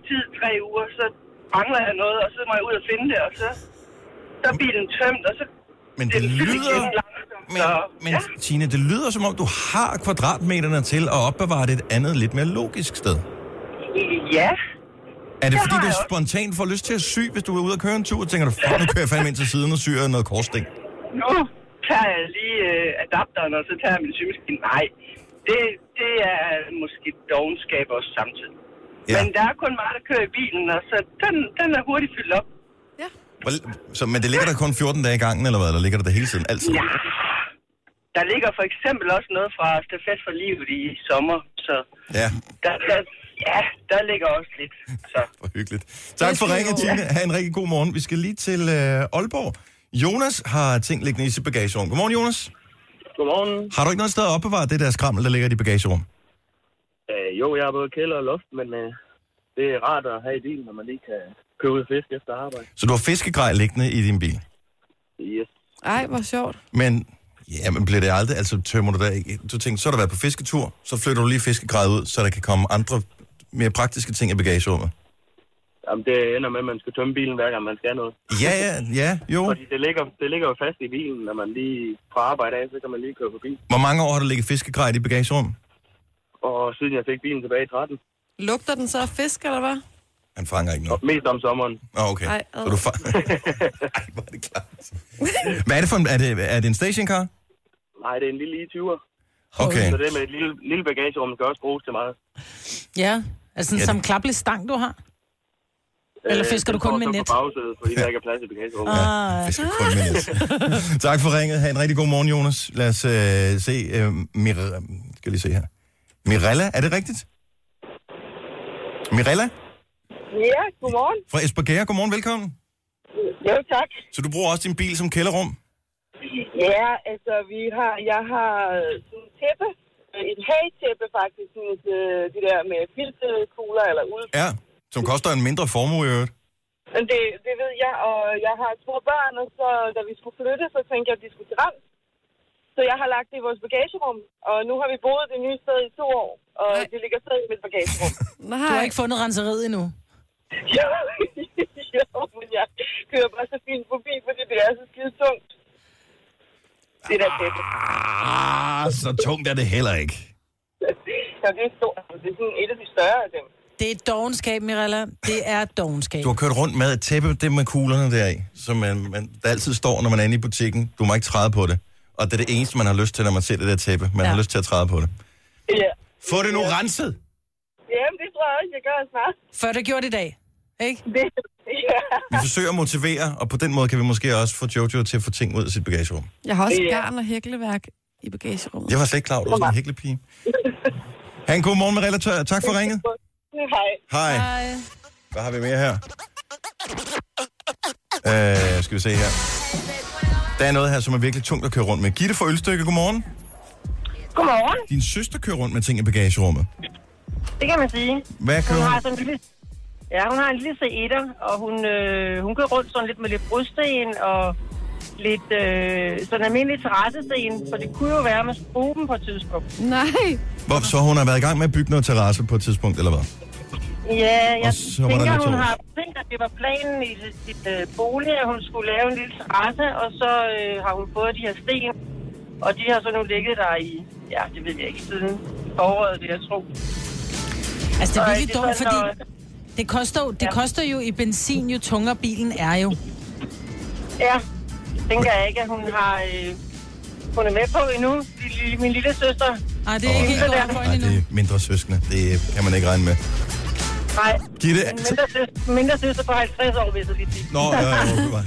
G: tid, tre uger, så mangler jeg noget, og så må jeg ud og finde det, og så, så er bilen tømt, og så
A: Men
G: er
A: det
G: fyldt
A: lyder...
G: igen langsomt,
A: Men,
G: så,
A: men
G: ja.
A: Tine, det lyder som om, du har kvadratmeterne til at opbevare det et andet, lidt mere logisk sted.
G: ja.
A: Er det,
G: Det
A: fordi
G: har
A: du
G: jeg også.
A: spontant får lyst til at sy, hvis du er ude og køre en tur, og tænker du, fuck, nu kører jeg fandme ind til siden og syr noget korsting?
G: nu tager jeg lige øh, adapteren, og så tager jeg min symaskine. Nej, det, det er måske dogenskab også samtidig.
A: Ja.
G: Ja. Men der er kun mig, der kører i bilen, og så den, den er hurtigt fyldt op.
A: Hvor- Så, men det ligger der kun 14 dage i gangen, eller hvad? Eller ligger der det hele tiden? Altid?
G: Ja. Der ligger for eksempel også noget fra Stafet for Livet i sommer, så
A: Ja,
G: der, der, ja, der ligger også lidt. Så.
A: hvor hyggeligt. Tak for
C: skal
A: ringet,
C: I
A: Tine. Ha' en rigtig god morgen. Vi skal lige til øh, Aalborg. Jonas har ting liggende i sit bagagerum. Godmorgen, Jonas.
I: Godmorgen.
A: Har du ikke noget sted at opbevare det der skrammel, der ligger i dit bagagerum?
I: Øh, jo, jeg har både kælder og loft, men øh, det er rart at have i bilen, når man lige kan købe ud fisk efter arbejde.
A: Så du har fiskegrej liggende i din bil.
I: Yes.
C: Ej, hvor sjovt.
A: Men, ja, men bliver det aldrig, altså tømmer du der ikke? Du tænker, så har du været på fisketur, så flytter du lige fiskegrejet ud, så der kan komme andre mere praktiske ting i bagagerummet.
I: Jamen, det ender med, at man skal tømme bilen, hver gang man skal noget.
A: Ja, ja, ja, jo.
I: Fordi det ligger, det ligger jo fast i bilen, når man lige fra arbejde af, så kan man lige køre forbi.
A: Hvor mange år har du ligget fiskegrej i dit bagagerum?
I: Og siden jeg fik bilen tilbage i 13,
C: Lugter den så af fisk, eller hvad?
A: Han fanger ikke
I: og
A: noget.
I: mest om sommeren,
A: Nå, okay.
C: Ej,
A: så du fa- [laughs] Ej, hvor er det klart. Hvad er det for en... Er det, er det en stationcar?
I: nej, det er en lille i20'er.
A: Okay.
I: Så det med et lille, lille bagagerum kan også bruges til meget.
B: Ja. Altså
A: Ja,
B: sådan
A: det-
B: som klappelig stang, du har? Eller fisker
I: den
B: du kun
I: står
B: med
I: så
B: net?
I: på bagsædet, fordi der ikke er plads i bagagerummet.
B: Ah,
A: Fisk kun minut. tak for ringet. Ha' en rigtig god morgen, Jonas. Lad os øh, se... Øh, Mir- skal jeg lige se her. Mirella, er det rigtigt? Mirella
J: Ja, godmorgen.
A: fra Esbjerg. Godmorgen, velkommen.
E: Jo, tak.
A: Så du bruger også din bil som kælderrum?
E: Ja, altså, vi har, jeg har øh, sådan en tæppe, øh, et hagetæppe faktisk, sådan et, øh, de der med filterkugler eller ude.
A: Ja. Som koster en mindre formue i øvrigt.
E: Men det, det ved jeg, og jeg har to børn, og så da vi skulle flytte, så tænkte jeg, at de skulle til Rams. Så jeg har lagt det i vores bagagerum, og nu har vi boet det nye sted i to år, og
C: Nej.
E: det ligger stadig i mit bagagerum.
C: Nej.
B: Du har ikke fundet renseriet endnu.
E: jo, [laughs] jo, men jeg kører bare så fint forbi, fordi det er så skide tungt. Det der [laughs] tæppe.
A: Ah, så tungt er det heller ikke.
E: Så det er stort. Det er sådan et af de større af dem.
B: Det er dogenskab, Mirella. Det er dogenskab.
A: Du har kørt rundt med et tæppe, det med kuglerne der i, som man, man, der altid står, når man er inde i butikken. Du må ikke træde på det. Og det er det eneste, man har lyst til, når man ser det der tæppe. Man ja.
B: Ja.
A: har lyst til at træde på det.
E: Ja.
A: Få det nu renset!
E: Jamen, det tror jeg også, jeg gør snart. [laughs]
B: Før det gjorde det i dag. Ikke?
E: Det, ja.
A: Vi forsøger at motivere, og på den måde kan vi måske også få Jojo til at få ting ud af sit bagagerum.
C: Jeg har også
E: Ja.
C: garn og hækleværk i bagagerummet.
A: Jeg var slet ikke klar, over, at du var sådan en hæklepige. Ha' en god morgen med relatør. Tak for ringet.
E: [laughs] Hej.
A: Hej.
C: Ej.
A: Hvad har vi mere her? Øh, skal vi se her. Der er noget her, som er virkelig tungt at køre rundt med. Gitte fra Ølstykke, godmorgen.
E: Godmorgen.
A: Din søster kører rundt med ting i bagagerummet.
E: Det kan man sige.
A: Hvad
E: Hun
A: kører
E: har
A: hun?
E: sådan en lille... Ja, hun har en lille C1'er, og hun, øh, hun kører rundt sådan lidt med lidt bryststen og lidt øh, sådan almindelig terrassesten, for det kunne jo være, at man skulle bruge dem på et tidspunkt.
C: Nej.
A: Hvor, så hun har været i gang med at bygge noget terrasse på et tidspunkt, eller hvad?
E: Ja, jeg
A: Og så var der
E: tænker,
A: lidt
E: hun
A: over.
E: har tænkt, at det var planen i sit- sit øh, bolig, at hun skulle lave en lille terrasse, og så øh, har hun fået de her sten, og de har så nu ligget der i, ja, det ved jeg ikke, siden foråret, vil jeg tro.
B: Altså, det er virkelig
E: Og, øh,
B: dumt,
E: det er sådan,
B: fordi det koster, jo- det
E: Ja.
B: koster jo i benzin, jo tungere bilen er jo.
E: Ja, det tænker jeg ikke, at hun har... Øh, hun er med på endnu. Lille- Min lille søster.
B: Ej, det er ikke helt godt for
A: Nej,
B: endnu.
A: det er mindre søskende. Det kan man ikke regne med.
E: Nej,
A: Gitte...
E: en mindre søster, mindre søster på 50 år, hvis jeg lige sige.
A: Nå, ja, [laughs] ja, okay, bare.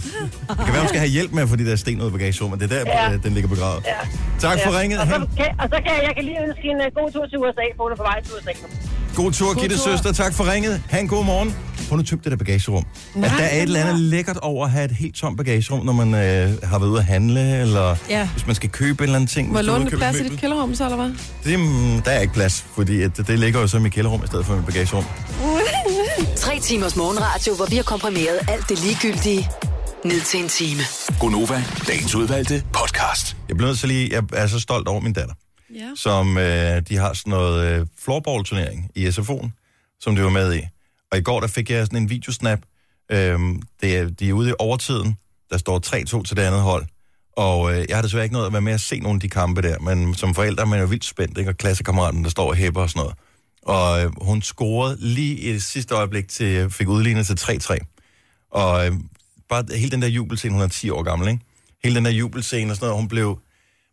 A: Det kan være, hun skal have hjælp med at få de der sten ud af bagagerummet. Det er der,
E: Ja.
A: ja. den ligger begravet.
E: Ja.
A: Tak for ringet.
E: Og så,
A: Ha' en
E: kan, og så kan jeg, jeg kan lige ønske en uh, god tur til USA, for hun er på vej til USA. nu.
A: God tur,
B: God
A: Gitte
B: tur.
A: søster. Tak for ringet. Ha' en god morgen. Få nu tømt det der bagagerum. Nej, altså, der er et eller andet lækkert over at have et helt tomt bagagerum, når man øh, har været ude at handle, eller ja.
B: Ja.
A: hvis man skal købe en eller anden ting.
C: Må jeg
A: hvis du er ude
C: låne
A: at købe
C: lidt plads
A: et
C: i dit
A: møbel.
C: kælderrum, så, eller hvad?
A: Det, mm, der er ikke plads, fordi at det, det ligger jo så i mit kælderrum i stedet for mit bagagerum.
F: Tre timers morgenradio, hvor vi har komprimeret alt det ligegyldige ned til en time.
G: Gonova, dagens udvalgte podcast.
A: Jeg bliver nødt til lige, jeg er så stolt over min datter,
C: Ja.
A: som øh, de har sådan noget øh, floorball-turnering i SFO'en, som det var med i. Og i går, der fik jeg sådan en videosnap. Øhm, det er, de er ude i overtiden. Der står 3-2 til det andet hold. Og øh, jeg har desværre ikke nået at være med at se nogle af de kampe der, men som forældre er man jo vildt spændt, ikke? Og klassekammeraten, der står og hæpper og sådan noget. Og øh, hun scorede lige i det sidste øjeblik, til, fik udlignet til 3-3. Og øh, bare hele den der jubelscene, hun er 10 år gammel, ikke? Hele den der jubelscene og sådan noget, hun blev...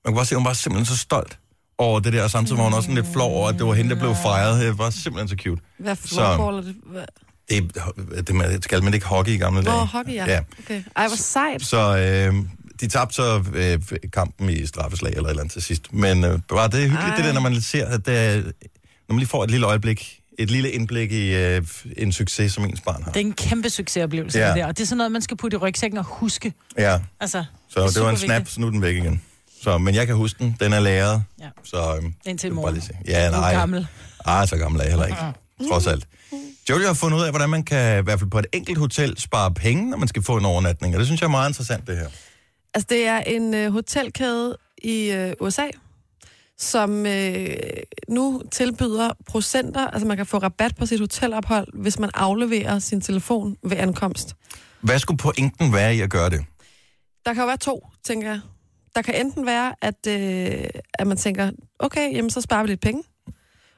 A: Man kunne bare se, at hun var simpelthen så stolt over det der, og samtidig var hun også sådan lidt flov over, at det var hende, der blev fejret. Det var simpelthen så cute.
C: Hvad
A: Så-
C: floorball er det? Hvad?
A: Det, det man, skal man ikke hockey i gamle
C: Nå,
A: dage.
C: hockey, ja.
A: ja.
C: Okay. Ej, hvor sejt.
A: Så øh, de tabte så øh, kampen i straffeslag eller et eller andet til sidst. Men øh, var det er hyggeligt, Ej.
C: Ej.
A: det der, når man ser, at det, er- når man lige får et lille øjeblik, et lille indblik i øh, en succes, som ens barn har.
B: Det er en kæmpe succesoplevelse,
A: Ja.
B: ja. det der. Og det er sådan noget, man skal putte i rygsækken og huske.
A: Ja,
B: Altså,
A: så det, det var en
B: supervigtigt.
A: snap, så nu er den væk igen. Så, men jeg kan huske den, den er læret.
B: Ja.
A: Så, øh,
B: Indtil
A: det er
B: i
A: bare
B: morgen.
A: lige se. Ja,
B: Du er
A: nej.
B: gammel.
A: Ah, så gammel er jeg heller ikke. Trods alt. Jojo har fundet ud af, hvordan man kan, i hvert fald på et enkelt hotel, spare penge, når man skal få en overnatning. Og det synes jeg er meget interessant, det her.
C: Altså, det er en øh, hotelkæde i øh, USA, som øh, nu tilbyder procenter, altså man kan få rabat på sit hotelophold, hvis man afleverer sin telefon ved ankomst.
A: Hvad skulle pointen være i at gøre det?
C: Der kan jo være to, tænker jeg. Der kan enten være, at, øh, at man tænker, okay, jamen så sparer vi lidt penge.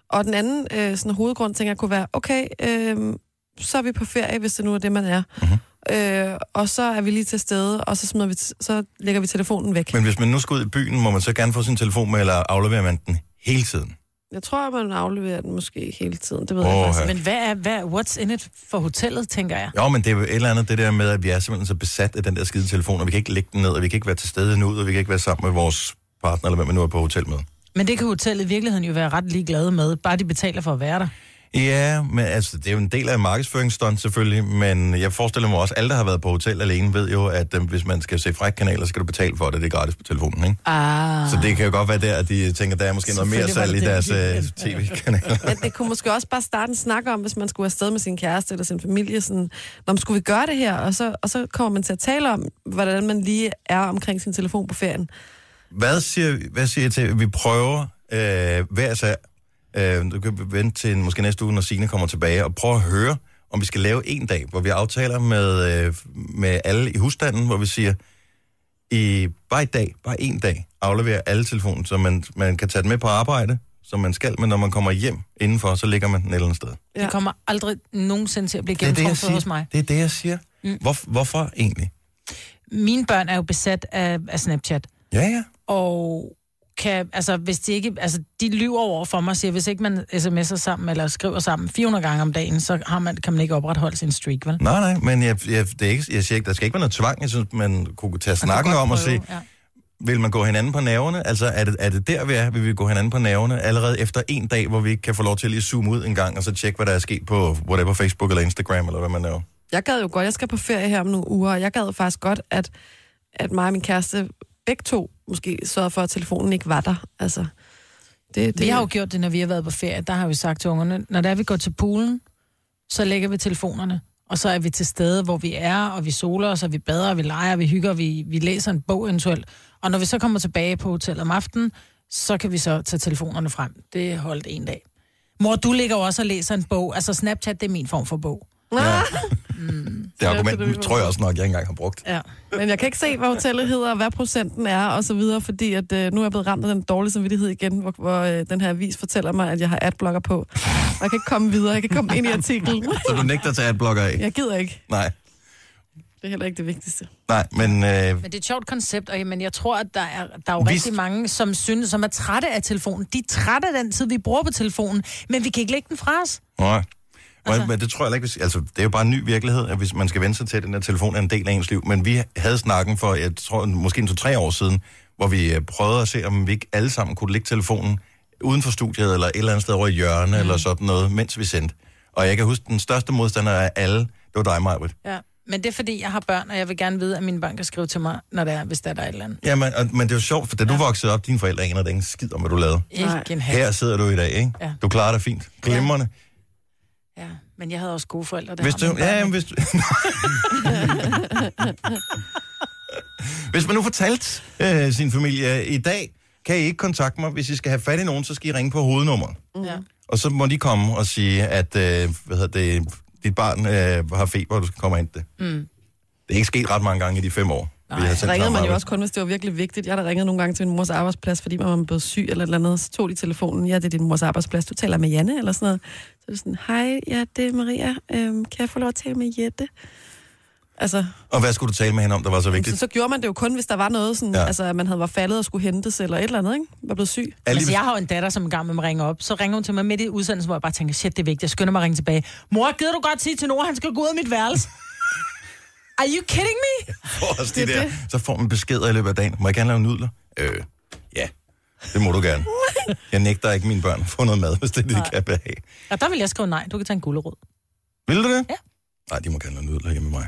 C: Og den anden øh, sådan hovedgrund, tænker jeg, kunne være, okay, øh, så er vi på ferie, hvis det nu er det, man er. Mm-hmm. Øh, og så er vi lige til stede, og så, smider vi t- så lægger vi telefonen væk.
A: Men hvis man nu skal ud i byen, må man så gerne få sin telefon med, eller afleverer man den hele tiden?
C: Jeg tror, at man afleverer den måske ikke hele tiden. Det ved
A: Åh,
C: jeg
A: ja.
C: faktisk.
B: Men hvad er, hvad, what's in it for hotellet, tænker jeg?
A: Jo, men det er jo et eller andet det der med, at vi er simpelthen så besat af den der skide telefon, og vi kan ikke lægge den ned, og vi kan ikke være til stede nu, og vi kan ikke være sammen med vores partner, eller hvem man nu er på hotel med.
B: Men det kan hotellet i virkeligheden jo være ret ligeglade med, bare de betaler for at være der.
A: Ja, men altså, det er jo en del af markedsføringsstunt selvfølgelig, men jeg forestiller mig også, at alle, der har været på hotel alene, ved jo, at øh, hvis man skal se frække kanaler, så skal du betale for det. Det er gratis på telefonen, ikke?
B: Ah.
A: Så det kan jo godt være der, at de tænker, der er måske noget mere salg i
B: Selvfølgelig var det
A: deres
B: det,
A: øh, tv-kanaler.
C: Men det kunne måske også bare starte en snak om, hvis man skulle afsted med sin kæreste eller sin familie, sådan, når man skulle vi gøre det her? Og så, og så kommer man til at tale om, hvordan man lige er omkring sin telefon på ferien.
A: Hvad siger, hvad siger jeg til, vi prøver øh, hver sag, øh, du kan vente til måske næste uge, når Signe kommer tilbage, og prøve at høre, om vi skal lave en dag, hvor vi aftaler med, øh, med alle i husstanden, hvor vi siger, i bare i dag, bare en dag, afleverer alle telefonen, så man, man kan tage den med på arbejde, som man skal, men når man kommer hjem indenfor, så ligger man den et eller andet sted.
B: Ja. Det kommer aldrig nogensinde til at blive
A: Det er det, jeg
B: gennemtruffet hos
A: siger.
B: mig.
A: Det er det, jeg siger. Mm. Hvor, hvorfor egentlig?
B: Mine børn er jo besat af, af Snapchat,
A: Ja, ja.
B: og kan, altså, hvis de ikke, altså, de lyver over for mig og siger, hvis ikke man sms'er sammen eller skriver sammen 400 gange om dagen, så har man, kan man ikke opretholde sin streak, vel?
A: Nej, nej, men jeg, jeg, det er ikke, jeg siger ikke, der skal ikke være noget tvang. Jeg synes, man kunne tage
B: Man kan
A: snakken
B: godt
A: om og se,
B: prøve, Ja.
A: vil man gå hinanden på nerverne? Altså, er det, er det der, vi er? Vil vi gå hinanden på nerverne allerede efter en dag, hvor vi ikke kan få lov til at lige zoome ud en gang, og så tjekke, hvad der er sket på whatever, Facebook eller Instagram, eller hvad man laver?
C: Jeg gad jo godt, jeg skal på ferie her om nogle uger, og jeg gad jo faktisk godt, at, at mig og min kæreste begge to måske sørgede for, at telefonen ikke var der. Altså, det, det,
B: Vi har jo gjort det, når vi har været på ferie. Der har vi sagt til ungerne, når der vi går til poolen, så lægger vi telefonerne. Og så er vi til stede, hvor vi er, og vi soler os, og vi bader, og vi leger, og vi hygger, og vi, vi læser en bog eventuelt. Og når vi så kommer tilbage på hotellet om aftenen, så kan vi så tage telefonerne frem. Det holdt en dag. Mor, du ligger jo også og læser en bog. Altså Snapchat, det er min form for bog.
A: Det argument tror jeg også nok, jeg ikke engang har brugt.
B: Ja.
C: Men jeg kan ikke se, hvad hotellet hedder, og hvad procenten er, og så videre, fordi at, øh, nu er jeg blevet ramt af den dårlige samvittighed igen, hvor, hvor øh, den her avis fortæller mig, at jeg har adblocker på. Og jeg kan ikke komme videre, jeg kan ikke komme ind i artiklen.
A: Så du nægter at tage adblocker af?
C: Jeg gider ikke.
A: Nej,
C: Det er heller ikke det vigtigste.
A: nej, men... Øh,
B: Men det er et sjovt koncept, og men jeg tror, at der er, der er jo
A: Vi-
B: rigtig mange, som synes, som er trætte af telefonen. De er trætte af den tid, vi bruger på telefonen, men vi kan ikke lægge den fra os.
A: Nej. Altså. Men det tror jeg heller ikke, hvis, altså, det er jo bare en ny virkelighed, at hvis man skal vende sig til, at den her telefon er en del af ens liv. Men vi havde snakken for, jeg tror, måske en to-tre år siden, hvor vi øh, prøvede at se, om vi ikke alle sammen kunne lægge telefonen uden for studiet, eller et eller andet sted over i hjørne, mm. eller sådan noget, mens vi sendte. Og jeg kan huske, den største modstander af alle, det var dig, Majbrit.
B: Ja, men det er fordi, jeg har børn, og jeg vil gerne vide, at mine børn kan skrive til mig, når der er, hvis der er der et eller andet.
A: Ja, men, og, men det er jo sjovt, for da du voksede op, dine forældre anede ingen skid om, hvad du lavede.
B: Ikke en halv.
A: Her sidder du i dag, ikke?
B: Ja.
A: Du klarer dig fint. Glimrende.
B: Ja, men jeg havde også gode forældre, der
A: Hvis
B: har
A: du,
B: mine børn,
A: ja,
B: ikke?
A: jamen, hvis du... hvis man nu fortalte øh, sin familie, i dag kan I ikke kontakte mig. Hvis I skal have fat i nogen, så skal I ringe på hovednummeret.
B: ja.
A: Og så må de komme og sige, at øh, hvad hedder det, dit barn øh, har feber, og du skal komme og hente det. Mm. Det er ikke sket ret mange gange i de fem år. Nej, vi har sendt
C: Ringede
A: sammen
C: man jo
A: arbejde.
C: også kun, hvis det var virkelig vigtigt. Jeg har da ringet nogle gange til min mors arbejdsplads, fordi man var blevet syg eller et eller andet. Så tog de telefonen. Ja, det er din mors arbejdsplads. Du taler med Janne eller sådan noget. Så er det sådan, hej, ja, det er Maria. Øhm, kan jeg få lov at tale med Jette? Altså,
A: Og hvad skulle du tale med hende om, der var så
C: så,
A: vigtigt?
C: så gjorde man det jo kun, hvis der var noget, sådan,
A: Ja.
C: ja. altså, at man havde var faldet og skulle hentes eller et eller andet, ikke? Var blevet syg.
A: Er lige-
B: Altså, jeg har jo en datter, som en gang med mig ringer op. Så ringer hun til mig midt i udsendelsen, hvor jeg bare tænker, shit, det er vigtigt. Jeg skynder mig at ringe tilbage. Mor, gider du godt sige til Nora, han skal gå ud af mit værelse? [laughs] Are you kidding me?
A: får os de der, så får man beskeder i løbet af dagen. Må jeg gerne lave nudler? Øh, ja, det må du gerne. Jeg nægter ikke mine børn at få noget mad, hvis det er det, de kan behage.
B: Og der vil jeg skrive nej. Du kan tage en gulerod.
A: Altså- Vil du det?
B: Ja.
A: Nej, de må gerne lave nudler hjemme med mig.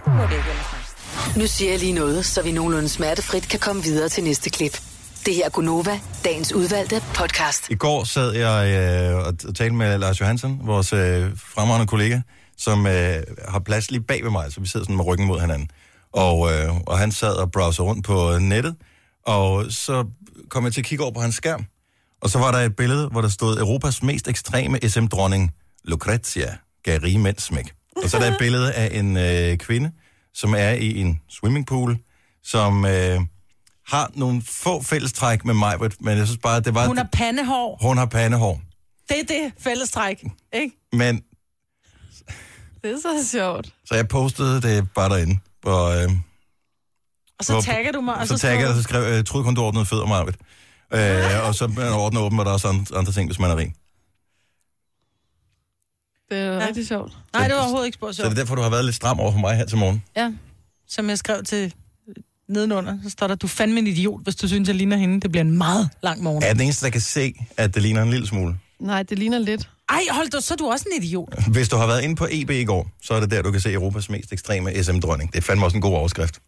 F: Nu siger jeg lige noget, så vi nogenlunde smertefrit kan komme videre til næste klip. Det her er Gunova, dagens udvalgte podcast.
A: I går sad jeg øh, og t- talte med Lars Johansen, vores øh, fremragende kollega, som øh, har plads lige bag ved mig, så vi sidder sådan med ryggen mod hinanden. Og, øh, og han sad og browsede rundt på øh, nettet, og så kom jeg til at kigge over på hans skærm, og så var der et billede, hvor der stod Europas mest ekstreme SM-dronning, Lucrezia, gav rige mænd smæk. Og så er der et billede af en øh, kvinde, som er i en swimmingpool, som øh, har nogle få fællestræk med mig, men jeg synes bare, at det var...
B: Hun har pandehår.
A: Hun har pandehår.
B: Det er det fællestræk, ikke?
A: Men,
C: Det er så sjovt.
A: så jeg postede det bare derinde. Og, øh,
B: Og så
A: Hvor-
B: tagger du mig, og så,
A: så taggede jeg, og
B: skriver
A: så skrev jeg, troede kun, du ordnede fødder, Marvitt. Øh, og så man ordner åben, og der er også andre- andre ting, hvis man er rig.
C: Det er ja. rigtig sjovt.
B: du- Nej, det var overhovedet ikke spurgt
A: Så det er derfor, du har været lidt stram over for mig her til morgen.
B: Ja, som jeg skrev til øh, nedenunder, så står der, du er fandme en idiot, hvis du synes, jeg ligner hende. Det bliver en meget lang morgen.
A: Er jeg den eneste, der kan se, at det ligner en lille smule?
C: Nej, det ligner lidt.
B: Ej, hold da, så er du også en idiot.
A: Hvis du har været inde på EB i går, så er det der, du kan se Europas mest ekstreme SM-dronning. Det er fandme også en god overskrift.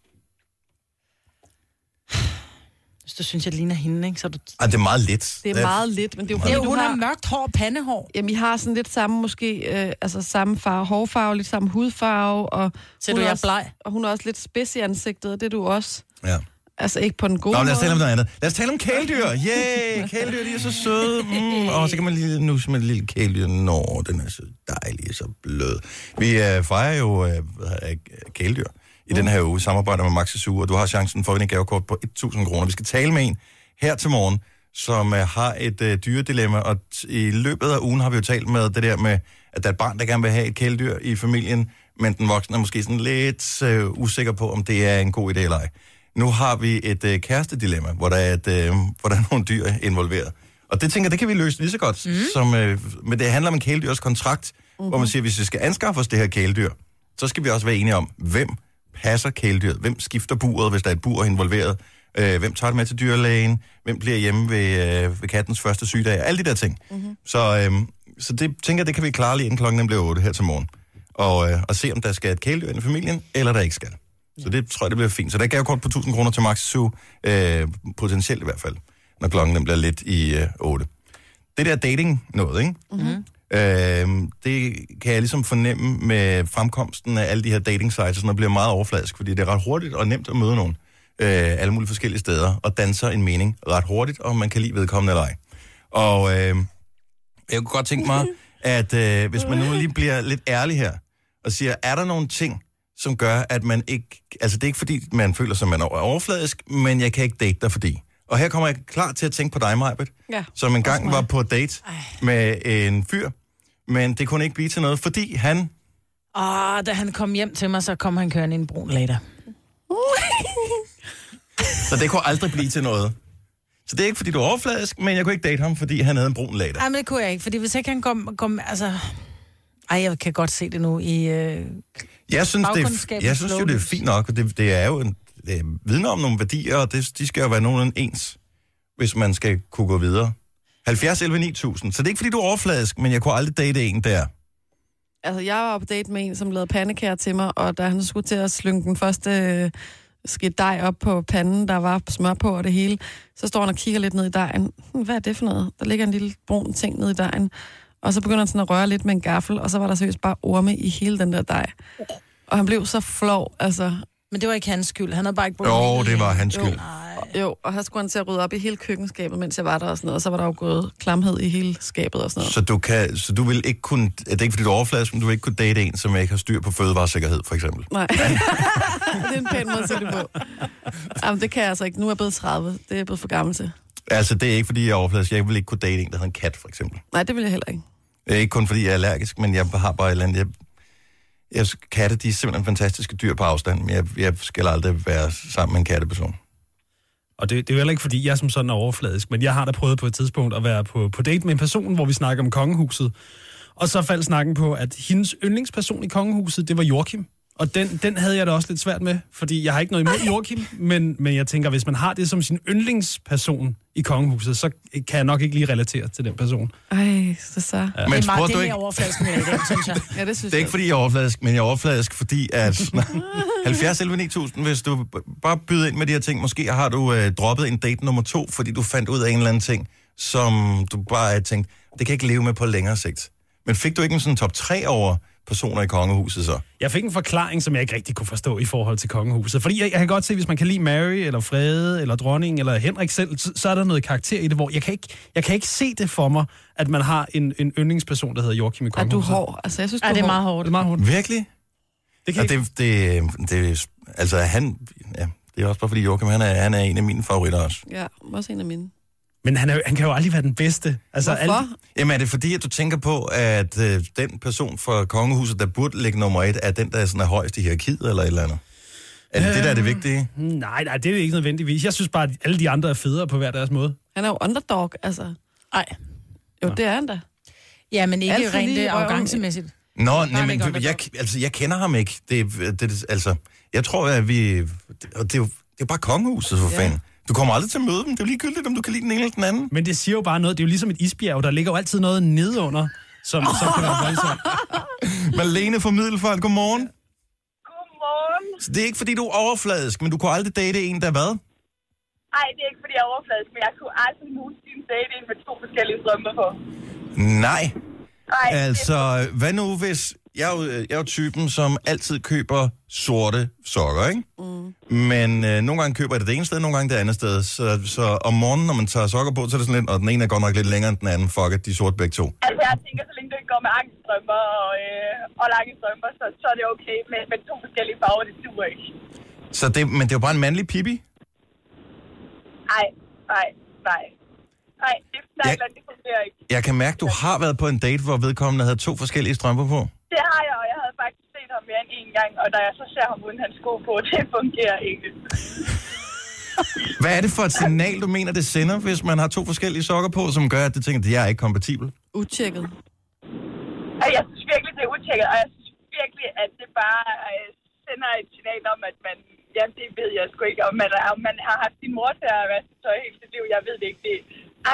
B: Hvis du synes, jeg ligner hende, ikke? Så er du...
A: Ej, det er meget lidt.
C: Det er meget lidt, men det er jo
B: Det
C: fordi,
B: er jo,
C: du
B: hun har
C: har...
B: mørkt hår og pandehår.
C: Jamen, I har sådan lidt samme, måske, øh, altså samme farve, hårfarve, lidt samme hudfarve, og...
B: Ser
C: hun
B: du, jeg er
C: også-
B: bleg?
C: Og hun er også lidt spids i ansigtet, og det er du også.
A: Ja.
C: Altså, ikke på den gode
A: Nå, lad os
C: måde.
A: tale om noget andet. Lad os tale om kæledyr. Yeah, kæledyr, de er så søde. Mm, og så kan man lige nusse med et lille kæledyr. Nå, den er så dejlig og så blød. Vi øh, fejrer jo øh, hvad hedder det, øh, kæledyr i den her uge. Samarbejder med Maxi Suge, og du har chancen for at vinde et gavekort på 1.000 kroner. Vi skal tale med en her til morgen, som øh, har et øh, dyredilemma. Og t- i løbet af ugen har vi jo talt med det der med, at der er et barn, der gerne vil have et kæledyr i familien, men den voksne er måske sådan lidt øh, usikker på, om det er en god idé eller ej. Nu har vi et øh, kærestedilemma, hvor der, er et, øh, hvor der er nogle dyr involveret. Og det tænker jeg, det kan vi løse lige så godt. Mm. Som, øh, men det handler om en kæledyrs kontrakt, mm-hmm. hvor man siger, at hvis vi skal anskaffe os det her kæledyr, så skal vi også være enige om, hvem passer kæledyret, hvem skifter buret, hvis der er et bur involveret, øh, hvem tager det med til dyrlægen, hvem bliver hjemme ved, øh, ved kattens første sygedag, alle de der ting. Mm-hmm. Så, øh, så det tænker jeg, det kan vi klare lige inden klokken den bliver 8 her til morgen. Og, øh, og se, om der skal et kæledyr ind i familien, eller der ikke skal. Så det tror jeg, det bliver fint. Så der er gavekort på 1000 kroner til Max Zoo, øh, potentielt i hvert fald, når klokken den bliver lidt i øh, 8. Det der dating noget, ikke? Mm-hmm. Øh, det kan jeg ligesom fornemme med fremkomsten af alle de her dating sites, og sådan noget bliver meget overfladisk, fordi det er ret hurtigt og nemt at møde nogen øh, alle mulige forskellige steder, og danser en mening ret hurtigt, om man kan lide vedkommende eller ej. Og øh, jeg kunne godt tænke mig, at øh, hvis man nu lige bliver lidt ærlig her, og siger, er der nogle ting, som gør, at man ikke... Altså, det er ikke fordi, man føler sig, man er overfladisk, men jeg kan ikke date dig fordi. Og her kommer jeg klar til at tænke på dig, Majbet,
C: Ja,
A: som engang var på date med en fyr, men det kunne ikke blive til noget, fordi han...
B: Åh, Ah, da han kom hjem til mig, så kom han kørende i en brun lader.
A: Så det kunne aldrig blive til noget. Så det er ikke, fordi du er overfladisk, men jeg kunne ikke date ham, fordi han havde en brun lader.
B: Nej, men det kunne jeg ikke, fordi hvis ikke han kom... kom altså... Ej, jeg kan godt se det nu i... Øh...
A: Jeg synes, det er,
B: Bagkundskabens
A: jeg synes jo, det er
B: lovløs.
A: fint nok, og det, det er jo en, det vidner om nogle værdier, og det, de skal jo være nogenlunde ens, hvis man skal kunne gå videre. 70 11 9000. Så det er ikke, fordi du er overfladisk, men jeg kunne aldrig date en der.
C: Altså, jeg var på date med en, som lavede pandekager til mig, og da han skulle til at slynge den første øh, skidt dej op på panden, der var smør på og det hele, så står han og kigger lidt ned i dejen. Hm, Hvad er det for noget? Der ligger en lille brun ting ned i dejen. Og så begynder han sådan at røre lidt med en gaffel, og så var der seriøst bare orme i hele den der dej. Og han blev så flov, altså.
B: Men det var ikke hans skyld. Han havde bare ikke brugt
A: Jo, det var hans skyld.
C: Jo, og her skulle han til at rydde op i hele køkkenskabet, mens jeg var der og sådan noget. Og så var der jo gået klamhed i hele skabet og sådan noget.
A: Så du, kan, så du vil ikke kunne... Det er ikke, fordi du er overfladisk, men du vil ikke kunne date en, som ikke har styr på fødevaresikkerhed, for eksempel.
C: Nej. [laughs] det er en pæn måde at sige det på. Jamen, det kan jeg altså ikke. Nu er jeg blevet 30. Det er jeg blevet for gammel til.
A: Altså, det er ikke, fordi jeg er overfladisk. Jeg vil ikke kunne date en, der havde en kat, for eksempel.
C: Nej, det vil jeg heller ikke.
A: Øh, Ikke kun fordi jeg er allergisk, men jeg har bare et eller andet... Jeg, jeg, katte, de er simpelthen fantastiske dyr på afstand, men jeg, jeg skal aldrig være sammen med en katteperson.
H: Og det, det er jo heller ikke, fordi jeg som sådan er overfladisk, men jeg har da prøvet på et tidspunkt at være på, på date med en person, hvor vi snakker om kongehuset. Og så faldt snakken på, at hendes yndlingsperson i kongehuset, det var Joachim. Og den, den havde jeg da også lidt svært med, fordi jeg har ikke noget imod Joachim, men, men jeg tænker, hvis man har det som sin yndlingsperson i kongehuset, så kan jeg nok ikke lige relatere til den person.
C: Ej, så så. Ja,
A: Ja. Men
B: Det er meget
A: spurgte
B: det
A: du
B: mere
A: ikke...
B: overfladisk, end jeg er i dag, synes [laughs] jeg.
C: ja det synes
A: Det er ikke, fordi jeg er overfladisk, men jeg er overfladisk, fordi at... [laughs] 70 11 9000, hvis du b- bare byder ind med de her ting. Måske har du øh, droppet en date nummer to, fordi du fandt ud af en eller anden ting, som du bare har tænkt, det kan jeg ikke leve med på længere sigt. Men fik du ikke en sådan top 3 over personer i kongehuset så?
H: Jeg fik en forklaring, som jeg ikke rigtig kunne forstå i forhold til kongehuset. Fordi jeg, jeg kan godt se, hvis man kan lide Mary, eller Frede, eller dronningen, eller Henrik selv, så, så er der noget karakter i det, hvor jeg kan, ikke, jeg kan ikke se det for mig, at man har en, en yndlingsperson, der hedder Joachim i
C: Er du er
H: kongehuset.
C: hård? Altså, jeg synes, du
B: Ej, det er meget
H: Det
B: hårdt.
H: er meget hårdt.
A: Virkelig?
H: Det kan
A: Ja,
H: jeg ikke.
A: det, det, det, altså han, ja, det er også bare fordi Joachim, han er, han er en af mine favoritter også.
C: Ja, også en af mine.
H: Men han, er, jo- han kan jo aldrig være den bedste. Altså,
C: Hvorfor?
H: alt-
A: Jamen er det fordi, at du tænker på, at øh, den person fra kongehuset, der burde ligge nummer et, er den, der sådan er højst i hierarkiet eller et eller andet? Er det det, der er det vigtige?
H: nej, nej, det er det ikke nødvendigvis. Jeg synes bare, at alle de andre er federe på hver deres måde.
C: Han er jo underdog, altså.
B: Nej.
C: Jo, det er han da.
B: Ja, men ikke
C: Altså,
B: altså, rent
C: lige
B: øh,
C: røven.
B: arrogancemæssigt.
A: Nå, nej,
B: det
A: men
B: godt,
A: jeg,
B: det
A: jeg, altså, jeg kender ham ikke. Det, er- det, det, altså, jeg tror, at vi... Og det, er jo- det er jo bare kongehuset, for fanden. Du kommer aldrig til at
H: [laughs]
A: møde dem. Det er jo ligegyldigt, om du kan lide den ene eller den anden.
H: Men det siger jo bare noget. Det er jo ligesom et isbjerg. Der ligger jo altid noget nedenunder. som så kan være voldsomt.
A: Malene fra Middelfart, godmorgen.
E: Godmorgen.
A: Så det er ikke, fordi du er overfladisk, men du kunne aldrig date en, der hvad?
E: Ej, det er ikke fordi jeg er overfladisk, men jeg kunne aldrig nogensinde date en med to forskellige strømper på.
A: Nej.
E: Ej,
A: Altså, hvad nu hvis... Jeg er, jo, øh, jeg er jo typen, som altid køber sorte sokker, ikke? Mm. Men øh, nogle gange køber jeg det det ene sted, nogle gange det andet sted. Så, så om morgenen, når man tager sokker på, så er det sådan lidt, og den ene er godt nok lidt længere end den anden. Fuck it, de er sorte begge to.
E: Altså, jeg tænker, så længe du ikke går med angststrømper og, øh, og lange strømper, så, så er det okay. Men, men to forskellige farver, det duer ikke.
A: Så det, men det er jo bare en mandlig pibi.
E: Nej, nej, nej. Nej, det, nej,
A: Ja.
E: det fungerer ikke.
A: Jeg kan mærke, du har været på en date, hvor vedkommende havde to forskellige strømper på.
E: Det har jeg, og jeg havde faktisk set ham mere end én gang, og da jeg så ser ham uden hans sko på, [laughs] det fungerer ikke.
A: Hvad er det for et signal, du mener, det sender, hvis man har to forskellige sokker på, som gør, at det tænker, at jeg er ikke kompatibel?
C: Utjekket.
E: Og jeg synes virkelig, det er utjekket, og jeg synes virkelig, at det bare øh, sender et signal om, at man... Ja, det ved jeg sgu ikke, om man, er- om man har haft sin mor til at vaske tøj hele sit liv. Jeg ved det ikke. Det,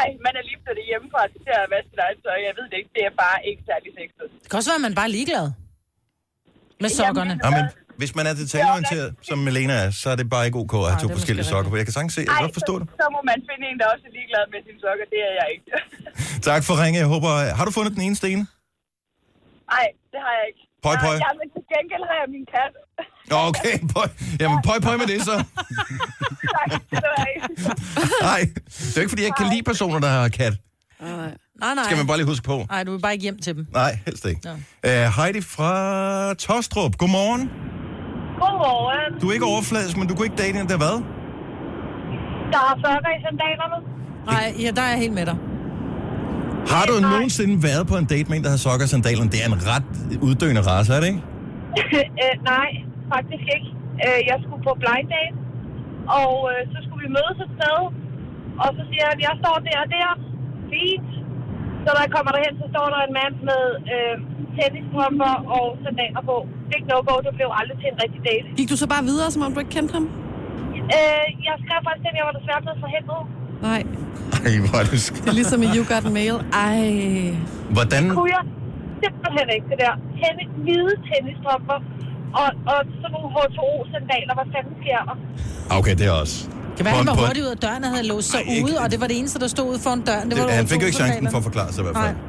E: ej, man er lige flyttet hjemmefra til at vaske sit eget tøj. Jeg ved det ikke. Det er bare ikke særlig sexet.
B: Det kan også være, at man bare er ligeglad med sokkerne.
A: Ja, men hvis man er detaljeorienteret, som Melena er, så er det bare ikke ok at have
B: det er
A: to
B: måske
A: forskellige sokker på. Jeg kan sagtens se, jeg kan godt forstå det.
E: så, så må man finde en, der også er ligeglad med sine sokker. Det er jeg ikke. [laughs]
A: Tak for ringe. Jeg håber, øh, har du fundet den ene sten?
E: Nej, det har jeg ikke.
A: Pøj, pøj.
E: Nej, Ja, men til gengæld har jeg min kat. [laughs]
A: Nå, Okay, pøj. Jamen, pøj, pøj med det så.
E: tak, skal du have.
A: Nej, det er jo ikke, fordi jeg ikke kan lide personer, der har kat.
C: Nej.
B: Nej, nej.
A: Skal man bare lige huske på.
B: Nej, du vil bare ikke hjem til dem.
A: Nej, helst ikke.
B: Nå.
A: Uh, Heidi fra Tostrup, godmorgen.
E: Godmorgen.
A: Du er ikke overfladisk, men du kunne ikke date en, der hvad?
E: Der har sokker i sandalerne.
B: Nej, ja, der er jeg helt med dig.
A: Har du nogensinde været på en date med en, der har sokker og sandaler? Det er en ret uddøende race, er det ikke?
E: [laughs] øh, nej, faktisk ikke. Øh, jeg skulle på blind date, og øh, så skulle vi mødes et sted. Og så siger han, jeg står der og der. Fint. Så når jeg kommer derhen, så står der en mand med øh, tennisstrømper og sandaler på. Det er ikke no-go, det blev aldrig til en rigtig date.
C: Gik du så bare videre, som om du ikke kendte ham?
E: Øh, jeg skrev faktisk til, at jeg var desværre blevet forhindret.
C: Nej.
A: Ej, hvor er det
C: Det er
A: sk-
C: ligesom i You Got Mail. Ej.
A: Hvordan?
E: kunne jeg simpelthen ikke det der. Tennis, hvide tennisstrømper og, og sådan nogle H2O-sandaler. Hvad fanden sker der?
A: Okay, det er også.
B: Det var, han
A: På en-
B: var
A: på en-
B: hurtigt ud af døren og havde låst sig
A: Ej, ikke-
B: ude, og det var det eneste, der stod ude foran døren. Det var
A: Det, han
B: jo
A: fik jo ikke chancen
B: autosoldaterne.
A: for at forklare sig i hvert fald.
B: Nej.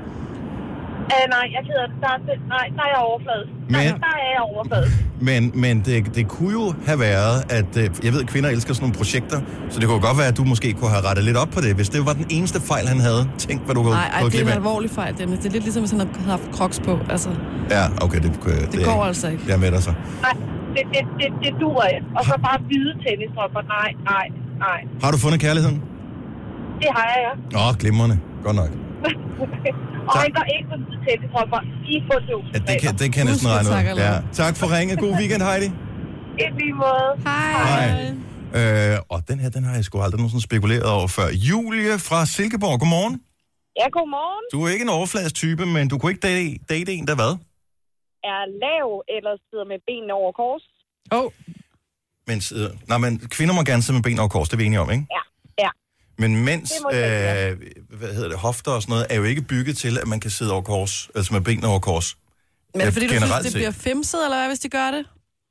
E: Øh, nej, jeg keder det. Der er, sim- nej, der er jeg overfladet. Nej,
A: Men-
E: der er jeg overfladet.
A: Men, men det, det kunne jo have været, at øh, jeg ved, at kvinder elsker sådan nogle projekter, så det kunne godt være, at du måske kunne have rettet lidt op på det, hvis det var den eneste fejl, han havde. Tænk, hvad du kunne
C: Nej, ej,
A: kunne
C: det er
A: glip
C: en
A: af.
C: alvorlig fejl, Dennis. Det er lidt ligesom, hvis han har haft crocs på. Altså,
A: Ja, okay, det, kunne, det,
C: går
A: ikke-
C: altså ikke.
A: Jeg er med dig så.
E: Nej, det, det, det, det dur ikke. Og så bare hvide tennisstrømper. Nej, nej, nej.
A: Har du fundet kærligheden?
E: Det har jeg, [laughs] ja.
A: Åh, oh, glimrende. Godt nok.
E: og
A: Tak.
E: jeg går ikke på hvide tennisstrømper i på
A: Ja, det, kan, det kan jeg næsten
C: Husk,
A: regne
C: hvad tak
A: ud.
C: er
A: Ja.
C: lavet.
A: Tak for ringe. God weekend, Heidi.
E: I lige måde.
C: hej.
A: Øh, og den her, den har jeg sgu aldrig nogensinde spekuleret over før. Julie fra Silkeborg, godmorgen.
E: Ja, godmorgen.
A: Du er ikke en overfladisk type, men du kunne ikke date, date en, der hvad?
E: Er lav eller sidder med benene over kors?
B: Åh, oh,
A: Men, sidder- nej, men kvinder må gerne sidde med ben over kors, det er vi enige om, ikke?
E: Ja, ja.
A: Men mens,
E: Det må
A: øh,
E: de ikke, ja.
A: hvad hedder det, hofter og sådan noget, er jo ikke bygget til, at man kan sidde over kors, altså med benene over kors.
C: Men er det fordi, du
A: Generelt
C: synes, det
A: set.
C: bliver femset, eller hvad, hvis de gør det?